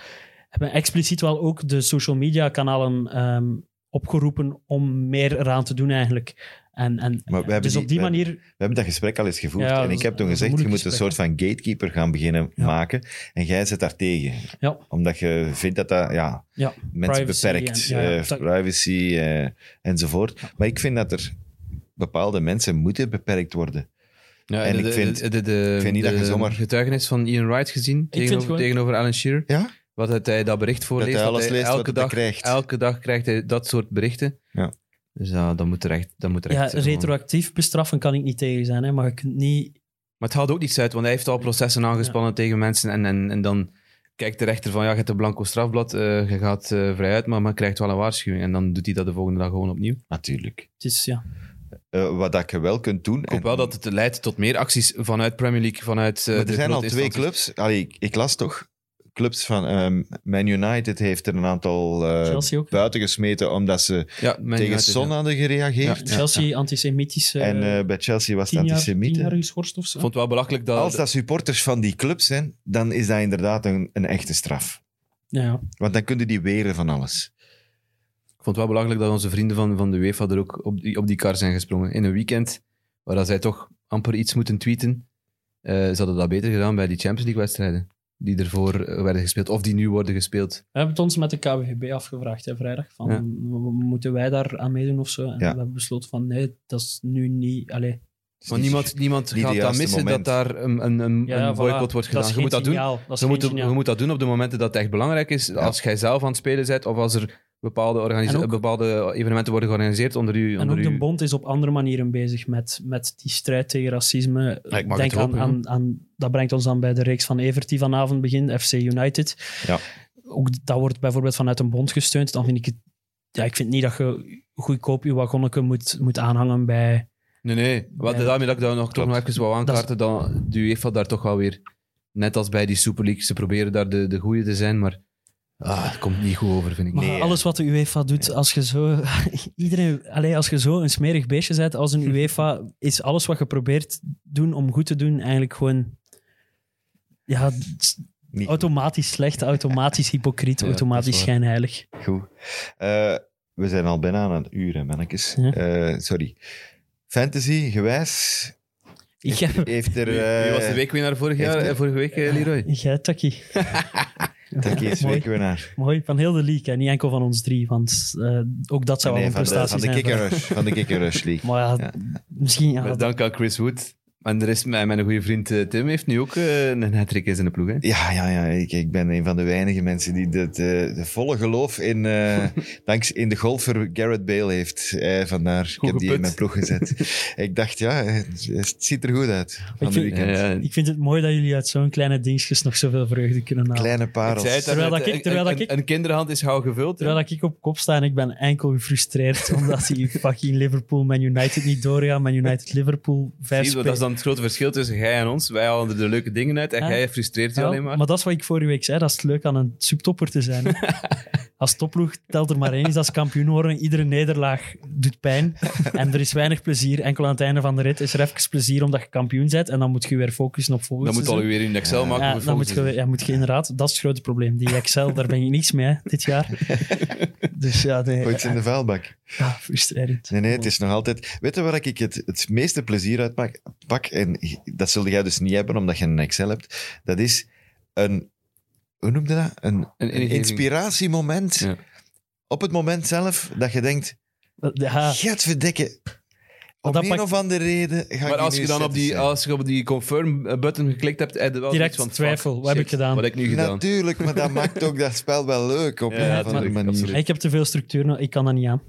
D: hebben expliciet wel ook de social media kanalen ehm, opgeroepen om meer eraan te doen eigenlijk. En, en,
B: we hebben
D: dus
B: die-
D: op die
B: we hebben-
D: manier
B: We hebben dat gesprek al eens gevoerd.
D: Ja, dat
B: en
D: is-
B: ik heb toen
D: dat is een
B: gezegd, je moet
D: moeilijk
B: een soort
D: gesprek,
B: van gatekeeper gaan beginnen
D: Ja.
B: maken. En jij zit daar tegen.
D: Ja.
B: Omdat je vindt dat dat ja,
D: Ja,
B: mensen
D: privacy
B: beperkt.
D: en- ja, ja,
B: eh,
D: dat-
B: privacy eh, enzovoort. Maar ik vind dat er bepaalde mensen moeten beperkt worden.
C: Ja,
B: En ik vind- ik vind niet dat je zomaar-
C: getuigenis van Ian Wright gezien tegenover,
D: gewoon-
C: tegenover Alan Shearer.
B: Ja?
C: Wat dat hij dat bericht voorleest.
B: hij alles leest wat
C: elke
B: hij
C: dag
B: krijgt.
C: Elke dag krijgt hij dat soort berichten.
B: Ja.
C: Dus dat, dat moet recht, dat moet recht
D: Ja,
C: zitten, man.
D: retroactief bestraffen kan ik niet tegen zijn, hè, maar je kunt niet...
C: Maar het haalt ook niets uit, want hij heeft al processen aangespannen tegen mensen. En, en, en dan kijkt de rechter van, ja, je hebt een blanco strafblad, eh, je gaat eh, vrijuit, maar je krijgt wel een waarschuwing. En dan doet hij dat de volgende dag gewoon opnieuw.
B: Natuurlijk.
D: Het is, ja.
B: Eh, wat dat je wel kunt doen...
C: Ik hoop wel dat eh, het leidt tot meer acties vanuit Premier League, vanuit eh,
B: Maar
C: de
B: er zijn al
C: grote
B: twee
C: instanties.
B: clubs. Allee, ik, ik las toch clubs van ehm, Man United heeft er een aantal eh,
D: Chelsea ook.
B: buiten gesmeten omdat ze
C: Ja, Man
B: tegen
C: United,
B: Son
C: ja.
B: hadden gereageerd.
D: Chelsea antisemitisch... dus, eh,
B: En eh, bij Chelsea was het
D: tien, jaar, tien jaar
B: antisemieten.
D: geschorst of zo.
C: Ik vond het wel belachelijk dat...
B: Als dat supporters van die clubs zijn, dan is dat inderdaad een, een echte straf.
D: Ja, ja.
B: Want dan kunnen die weren van alles.
C: Ik vond het wel belangrijk dat onze vrienden van, van de UEFA er ook op die, op die kar zijn gesprongen. In een weekend waar dat zij toch amper iets moeten tweeten. eh, ze hadden dat beter gedaan bij die Champions League-wedstrijden. Die ervoor eh, werden gespeeld, of die nu worden gespeeld.
D: We hebben het ons met de KWGB afgevraagd hè, vrijdag. Van,
C: Ja.
D: mo- Moeten wij daar aan meedoen of zo? En we
B: Ja.
D: hebben besloten van nee, dat is nu niet... Allee,
B: Dus
C: Maar niemand, niemand
B: niet
C: gaat
B: de
C: dat
B: juiste
C: missen
B: moment.
C: dat daar een, een, een,
D: ja,
C: een
D: voilà.
C: boycott wordt
D: is
C: gedaan. Je
D: geen
C: moet dat doen.
D: signaal. Dat is
C: Je
D: geen
C: moet, je
D: signaal.
C: moet dat doen op de momenten dat het echt belangrijk is. Als jij zelf aan het spelen bent of als er bepaalde, organisa-
D: En ook-
C: bepaalde evenementen worden georganiseerd onder u.
D: En
C: onder
D: ook de
C: uw-
D: bond is op andere manieren bezig met, met die strijd tegen racisme.
C: ik mag
D: Denk
C: het hopen,
D: aan, aan, aan- dat brengt ons dan bij de reeks van Evert die vanavond begint, FC United.
B: Ja.
D: Ook dat wordt bijvoorbeeld vanuit een bond gesteund. Dan vind ik het... Ja, ik vind niet dat je goedkoop je wagonnetje moet, moet aanhangen bij...
C: Nee, nee. Wat,
D: Nee.
C: Daarmee dat ik daar nog, toch
B: Klopt.
C: nog even wou aankaarten, dan de UEFA daar toch wel weer, net als bij die Super League, ze proberen daar de, de goeie te zijn, maar ah, het komt niet goed over, vind ik.
D: Maar
B: Nee,
D: alles wat de UEFA doet, als je zo... Iedereen, allee, als je zo een smerig beestje bent als een UEFA, is alles wat je probeert doen om goed te doen eigenlijk gewoon... Ja,
B: Niet
D: automatisch slecht, automatisch hypocriet,
C: Ja, dat
D: automatisch
C: is waar.
D: schijnheilig.
B: Goed. Eh, we zijn al bijna aan het uur, hè, mannetjes.
D: Ja.
B: Eh, sorry. Fantasy, gewijs,
D: Ik heb...
B: heeft er...
C: Wie, wie was de
B: eh,
C: weekwinnaar vorig
B: heeft
C: jaar,
B: er-
C: eh, vorige week, eh, Leroy?
D: Jij, Taki.
B: Taki is
D: Mooi.
B: weekwinnaar.
D: Mooi, van heel de league. En niet enkel van ons drie, want eh, ook dat zou
B: Nee,
D: wel
B: van
D: een
B: de,
D: prestatie
B: van de
D: zijn.
B: Kicker Rush, van de Kicker Rush League.
D: Maar ja,
B: Ja.
D: misschien... Ja,
C: Met
D: dat-
C: dank aan Chris Wood. En er is mijn, mijn goede vriend eh, Tim heeft nu ook eh, een hat in zijn ploeg. Hè?
B: Ja, ja, ja. Ik, ik ben een van de weinige mensen die het volle geloof in, eh dankzij in de golfer Garrett Bale heeft. Eh, vandaar, ik heb die in
C: geput.
B: mijn ploeg gezet. ik dacht, ja, het, het ziet er goed uit van de
D: vind-
B: weekend.
C: Ja, ja.
D: Ik vind het mooi dat jullie uit zo'n kleine dingetjes nog zoveel vreugde kunnen halen.
B: Kleine
C: Ik zei het
B: parels.
D: Terwijl
C: daarnet,
D: dat ik-
C: een-
D: terwijl dat
C: een,
D: ik-
C: een kinderhand is gauw gevuld. hè.
D: Terwijl dat ik op kop sta en ik ben enkel gefrustreerd omdat die fucking Liverpool Man United niet doorgaan. Man United Liverpool vijf
C: Zie je, want dat is dan het grote verschil tussen jij en ons. Wij halen er de leuke dingen uit en
D: Ja.
C: jij frustreert je
D: Ja,
C: alleen maar.
D: dat is wat ik vorige week zei. Dat is het leuk aan een subtopper te zijn. Als topploeg telt er maar één is als kampioen worden. Iedere nederlaag doet pijn. En er is weinig plezier. Enkel aan het einde van de rit is er even plezier omdat je kampioen bent. En dan moet je weer focussen op volgend
C: Dan moet
D: seizoen.
C: alweer in Excel maken.
D: Ja,
C: voor
D: dan moet
C: volgend
D: je, ja, moet je inderdaad... Dat is het grote probleem. Die Excel, daar ben ik niks mee hè, dit jaar. Dus ja, nee.
B: Ooit in de vuilbak.
D: Ja, frustrerend.
B: Nee, nee,
C: Hmm.
B: het is nog altijd... Weet je waar ik het, het meeste plezier uit maak, pak? En dat zul jij dus niet hebben, omdat je een Excel hebt. Dat is een... Hoe noemde dat? Een,
C: Een
B: een
C: ingeving.
B: inspiratiemoment.
C: Ja.
B: Op het moment zelf dat je denkt...
D: Ja,
B: Gadverdikke. Om
D: dat
B: een
D: pakt-
B: of andere reden ga
C: Maar
B: ik
C: als
B: nu
C: je dan op
B: sceptisch
C: die,
B: zijn.
C: als je op die confirm eh, button geklikt hebt, heb je wel
D: Direct
C: zoiets van, fuck,
D: twijfel, wat heb
C: shit,
D: ik gedaan?
C: Wat heb ik
B: Nou,
C: nu gedaan?
B: Natuurlijk, maar dat maakt ook dat spel wel leuk op
C: Ja,
B: een of andere
D: natuurlijk,
B: manier.
C: absoluut.
D: Ik heb te veel structuur, nou, ik kan dat niet aan.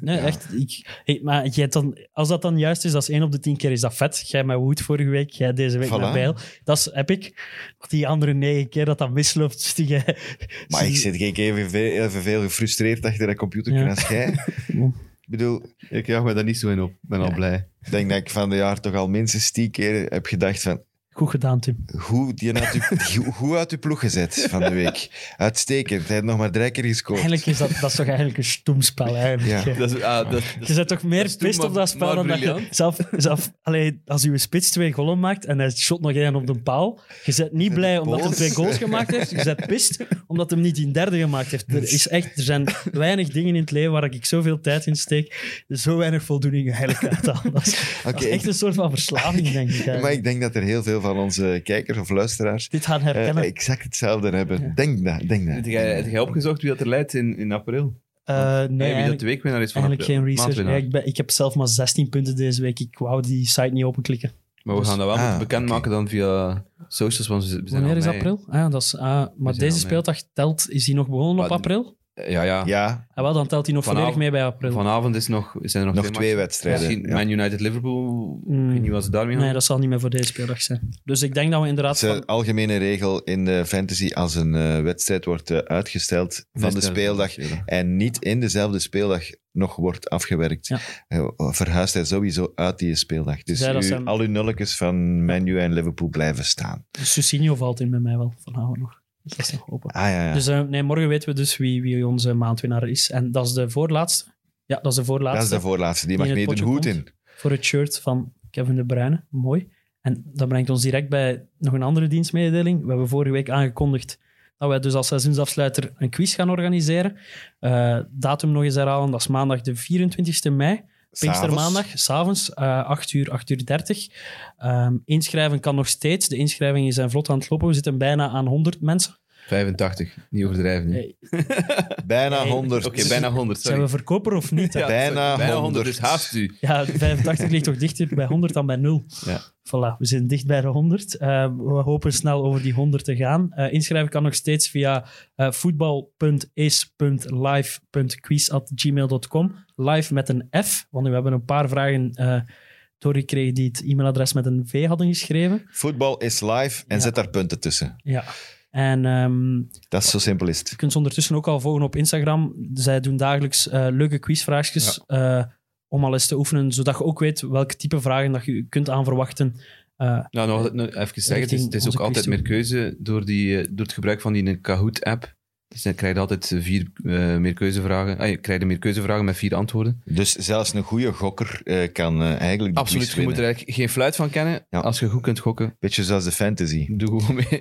D: Nee, echt. Ik, hey, maar jij hebt dan, als dat dan juist is, dat is één op de tien keer, is dat vet. Jij met Wood vorige week, jij deze week
B: Voilà.
D: met Bijl. Dat is epic. Maar Die andere negen keer dat dat misloopt, dus die jij...
B: Maar ik zit geen keer evenveel, evenveel gefrustreerd achter dat computer
D: Ja.
B: als jij. Ik bedoel,
C: Ik jaag me daar niet zo in op. Ik ben al blij.
B: ik denk dat ik van de jaar toch al minstens tien keer heb gedacht van
D: Goed gedaan, Tim.
B: hoe die uit uw, hoe uit uw ploeg gezet van de week. Uitstekend. Hij heeft nog maar drie keer gescoord.
D: Eigenlijk is dat, dat is toch eigenlijk een stoemspel, eigenlijk.
B: Ja.
D: hè?
C: Dat is, ah, dat, dat
D: Je
C: is-
D: bent toch meer
C: dat is toen
D: pist
C: maar-
D: op dat spel
C: maar
D: dan dat je
C: briljant.
D: zelf... zelf allee, als je spits twee golven maakt en hij shot nog één op de paal, je bent niet blij omdat hij
B: boos.
D: twee goals gemaakt heeft. Je bent pist omdat hij hem niet in derde gemaakt heeft. Er, is echt, er zijn weinig dingen in het leven waar ik zoveel tijd in steek, zo weinig voldoening eigenlijk uit haal. Dat is, dat is
B: Oké,
D: echt
B: ik-
D: een soort van verslaving, denk ik. eigenlijk.
B: Maar ik denk dat er heel veel van onze kijkers of luisteraars
D: Dit gaan
B: eh,
D: herkennen.
B: exact hetzelfde hebben. Denk dat, denk dat.
C: Heb jij, heb jij opgezocht wie dat er leidt in, in april?
D: Eh, nee,
C: Nee, wie dat
D: eigenlijk-
C: de weekwinnaar is van nou.
D: Eigenlijk
C: april.
D: geen research.
C: Maandwinnaar.
D: Ja, ik, ben, ik heb zelf maar 16 punten deze week. Ik wou die site niet openklikken.
C: Maar we gaan dat wel
B: Ah,
C: moeten bekendmaken dan via socials. Want we zijn
D: Wanneer
C: al
D: is
C: mei.
D: april? Ah, dat is, ah, maar
C: al
D: deze
C: mee.
D: speeldag telt, is die nog begonnen op
C: Ah, d-
D: april?
C: Ja, ja.
B: Ja,
D: Ah, wel, dan telt die nog
C: Vanavond-
D: volledig mee bij april.
C: Vanavond is nog, zijn er nog,
B: nog twee
C: matchen.
B: wedstrijden.
C: Misschien
B: Ja.
C: Man United-Liverpool. Ik weet niet wat ze daarmee gaan.
D: Hmm. Nee, dat zal niet meer voor deze speeldag zijn. Dus ik denk dat we inderdaad...
B: Het is
D: Van,
B: een algemene regel in de fantasy als een eh, wedstrijd wordt eh, uitgesteld van de speeldag en niet in dezelfde speeldag nog wordt afgewerkt,
D: Ja.
B: eh, verhuist hij sowieso uit die speeldag. Dus
D: Ja, dat
B: u-
D: zijn-
B: al uw nulletjes van Menu en Liverpool blijven staan.
D: Susinho valt in bij mij wel, vanavond nog. Dus dat is nog open.
B: Ah ja, ja.
D: Dus eh, nee, morgen weten we dus wie, wie onze maandwinnaar is. En dat is de voorlaatste. Ja, dat is de
B: dat
D: voorlaatste
B: is de voorlaatste. Die
D: Die
B: mag
D: in het
B: meedoen
D: potje
B: goed
D: komt.
B: in.
D: voor het shirt van Kevin De Bruyne. Mooi. En dat brengt ons direct bij nog een andere dienstmededeling. We hebben vorige week aangekondigd dat wij dus als seizoensafsluiter een quiz gaan organiseren. Eh, datum nog eens herhalen, dat is maandag de 24e mei. Pinkstermaandag, s'avonds, eh 8 uur, 8 uur 30. Ehm, inschrijven kan nog steeds. De inschrijvingen zijn vlot aan het lopen. We zitten bijna aan 100 mensen.
C: 85, niet overdrijven. nu.
D: Nee,
B: Bijna Dus
D: Nee.
B: 100.
C: Oké, bijna 100.
D: Zijn
C: Sorry.
D: we verkoper of niet?
C: Ja,
B: Bijna
C: sorry,
B: 100.
C: dus haast u.
D: Ja, 85 ligt toch dichter bij 100 dan bij 0.
C: Ja.
D: Voilà, we zitten dicht bij de 100. Eh, we hopen snel over die 100 te gaan. Eh, inschrijven kan nog steeds via eh voetbal.is.live.quiz.gmail.com. Live met een F, want we hebben een paar vragen eh doorgekregen die het e-mailadres met een V hadden geschreven.
B: Voetbal is live en
D: Ja.
B: zet daar punten tussen.
D: Ja. En ehm,
B: Dat is zo simpel is het.
D: je kunt ze ondertussen ook al volgen op Instagram. Zij doen dagelijks eh, leuke quizvraagjes eh, om al eens te oefenen, zodat je ook weet welke type vragen dat je kunt aan verwachten. Eh,
C: Nou, nog nog even zeggen, het is, het is
D: onze
C: ook altijd
D: quiz
C: meer
D: toe.
C: keuze door, die, eh, door het gebruik van die Kahoot-app. Dus dan krijg je altijd vier eh meer keuzevragen. Ah, je krijgt meer keuzevragen met vier antwoorden.
B: Dus zelfs een goede gokker eh, kan eh, eigenlijk de
C: Absoluut,
B: quiz
C: je moet er
B: winnen.
C: eigenlijk geen fluit van kennen.
B: Ja.
C: Als je goed kunt gokken,
B: Beetje zoals de fantasy.
C: doe gewoon mee.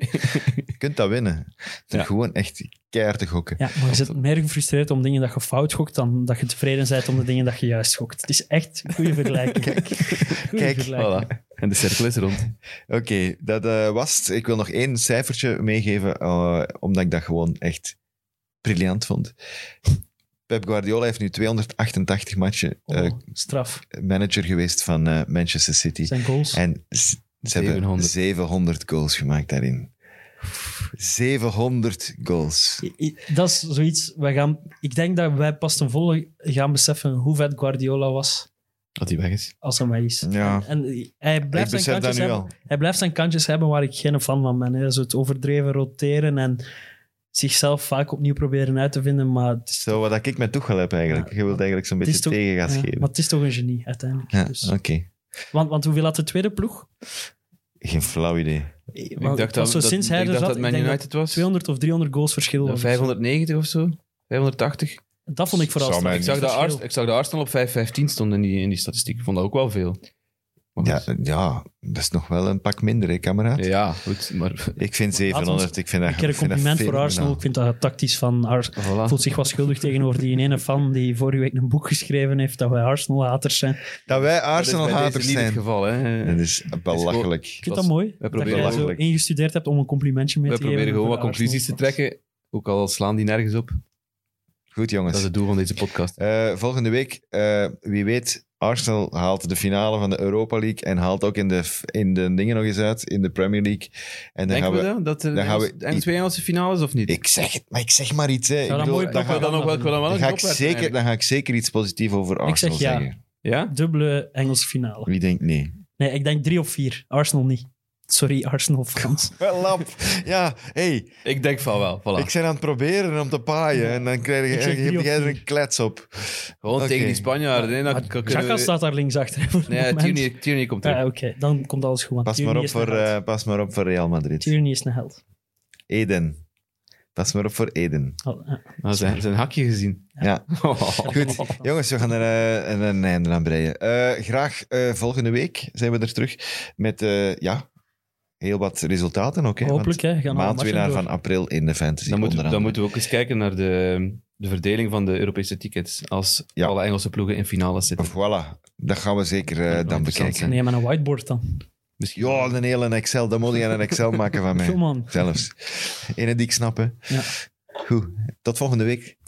B: Je kunt dat winnen. Door
C: Ja.
B: Gewoon echt keihard te gokken.
D: ja, maar je zit meer gefrustreerd om dingen dat je fout gokt dan dat je tevreden bent om de dingen dat je juist gokt. Het is echt een goede vergelijking. Kijk, goede
B: kijk,
D: vergelijking.
C: Voilà. En de cirkel is rond.
B: Oké, dat eh, was het. Ik wil nog één cijfertje meegeven, eh, omdat ik dat gewoon echt briljant vond. Pep Guardiola heeft nu 288 matchen eh,
D: Oh, straf.
B: manager geweest van eh, Manchester City.
D: Zijn goals.
B: En z- ze hebben
C: 700.
B: 700 goals gemaakt daarin. 700 goals.
D: I- i- Dat is zoiets. Wij gaan, ik denk dat wij pas ten volle gaan beseffen hoe vet Guardiola was
C: Dat hij weg is.
D: als hij maar is.
B: Ja.
D: En hij
B: Ik
D: blijft zijn
B: besef dat
D: kantjes
B: nu
D: hebben.
B: al.
D: Hij blijft zijn kantjes hebben waar ik geen fan van ben. Hè. Zo het overdreven roteren en zichzelf vaak opnieuw proberen uit te vinden. Maar het is,
B: Zo wat ik met Tuchel heb eigenlijk.
D: Ja.
B: Je wilt eigenlijk zo'n
D: Het
B: beetje
D: is toch-
B: tegen gaan
D: ja,
B: geven.
D: maar het is toch een genie uiteindelijk.
B: Ja,
D: Dus-
B: oké.
D: want, want hoeveel had de tweede ploeg?
B: Geen flauw idee.
D: Ik
C: Ik dacht dat,
D: zo
C: dat,
D: sinds
C: ik
D: hij
C: dacht
D: er zat,
C: dat Man
D: ik denk
C: United was.
D: dat 200 of 300 goals verschil.
C: Ja,
D: was.
C: 590 of zo. 580.
D: Dat vond ik vooral
B: Zou
D: straf.
B: mij
C: Ik zag, dat
D: Verschil.
C: Ars- ik zag dat Arsenal op 515 stond in die, in die statistiek. Ik vond dat ook wel veel. Maar
B: Ja,
C: goed.
B: ja, dat is nog wel een pak minder, hè, kameraad?
C: ja, goed. Maar
B: Ik vind
D: Laat ons
B: 700. Ik vind dat,
D: Ik heb een
B: ik vind dat
D: compliment voor
B: fenomenaal.
D: Arsenal. Ik vind dat tactisch van Arsenal.
C: voilà.
D: voelt zich wat schuldig tegenover die ene fan die vorige week een boek geschreven heeft dat wij Arsenal-haters zijn. Ik
B: Dat wij
C: Dat is bij deze
B: Arsenal-haters
C: niet het
B: zijn.
C: geval, hè.
B: Dat is belachelijk.
D: vind
C: Dat
D: dat
C: is-
D: mooi dat
C: proberen
D: jij zo
B: eigenlijk-
D: ingestudeerd hebt om een complimentje mee
C: We
D: te geven.
C: proberen gewoon
D: over
C: wat
D: de
C: conclusies te
D: Arsenal-fans.
C: trekken. Ook al slaan die nergens op.
B: Goed,
C: Dat
B: jongens.
C: is het doel van deze podcast.
B: Eh, volgende week, eh, wie weet, Arsenal haalt de finale van de Europa League en haalt ook in de, f- in de dingen nog eens uit, in de Premier League. En dan
C: Denken
B: gaan
C: we
B: we...
C: dat? Dat er
B: dan gaan we-
C: Engels- en twee Engelse finales of niet?
B: Ik zeg het, maar ik zeg maar iets. Hè. Ik
D: dan
B: bedoel,
D: mooi
B: dan,
D: proppen,
B: ga,
C: dan nog wel, ik wil dan wel
B: dan
C: een
B: ga ik
C: knop werpen
B: zeker,
C: eigenlijk.
B: dan ga ik zeker iets positiefs over Arsenal
D: zeg ja.
B: zeggen.
C: Ja?
D: Dubbele Engelse finale.
B: Wie denkt nee?
D: Nee, ik denk drie of vier. Arsenal niet. Sorry, Arsenal fans.
B: Wel lap. Ja, hey,
C: Ik denk van wel. Voilà.
B: ik ben aan het proberen om te paaien en dan krijg
D: Ik
B: je,
D: zeg drie
B: heb
D: of
B: jij er
D: vier.
B: een klets op.
C: Gewoon
B: Oké.
C: tegen die Spanjaarden. Nee, dan kunnen we-
D: Chaka staat daar links achter. voor het
C: Nee,
D: moment.
C: Tierney, Tierney komt
D: Ah,
C: terug.
D: Oké, dan komt alles goed. want
B: Pas
D: Tierney
B: maar, op
D: is een
B: voor,
D: held.
B: eh, pas maar op voor Real Madrid.
D: Tierney is een held.
B: Eden. Pas maar op voor Eden.
D: Oh, eh.
C: Nou, zijn, zijn hakje gezien.
B: Ja.
C: Oh.
B: Goed, jongens, we gaan er eh, een, een einde aan breien. Eh, graag eh, volgende week zijn we er terug met eh, ja, heel wat resultaten ook. Hè, want
D: Hopelijk, hè. Gaan
B: maandwinnaar van
D: van...
B: april in de fantasy.
C: Dan moeten,
B: onder
C: we- dan
B: andere.
C: moeten we ook eens kijken naar de, de verdeling van de Europese tickets. Als
B: Ja.
C: alle Engelse ploegen in finales zitten.
B: Voilà, dat gaan we zeker eh,
C: wel
B: dan
C: interessant
B: bekijken.
D: Nee, maar een whiteboard dan.
C: Misschien.
B: Ja, een hele Excel. Dan moet je een Excel maken van
D: Kom
B: mij.
D: man.
B: Zelfs. Ene die ik snap, hè.
D: Ja.
B: Goed, tot volgende week.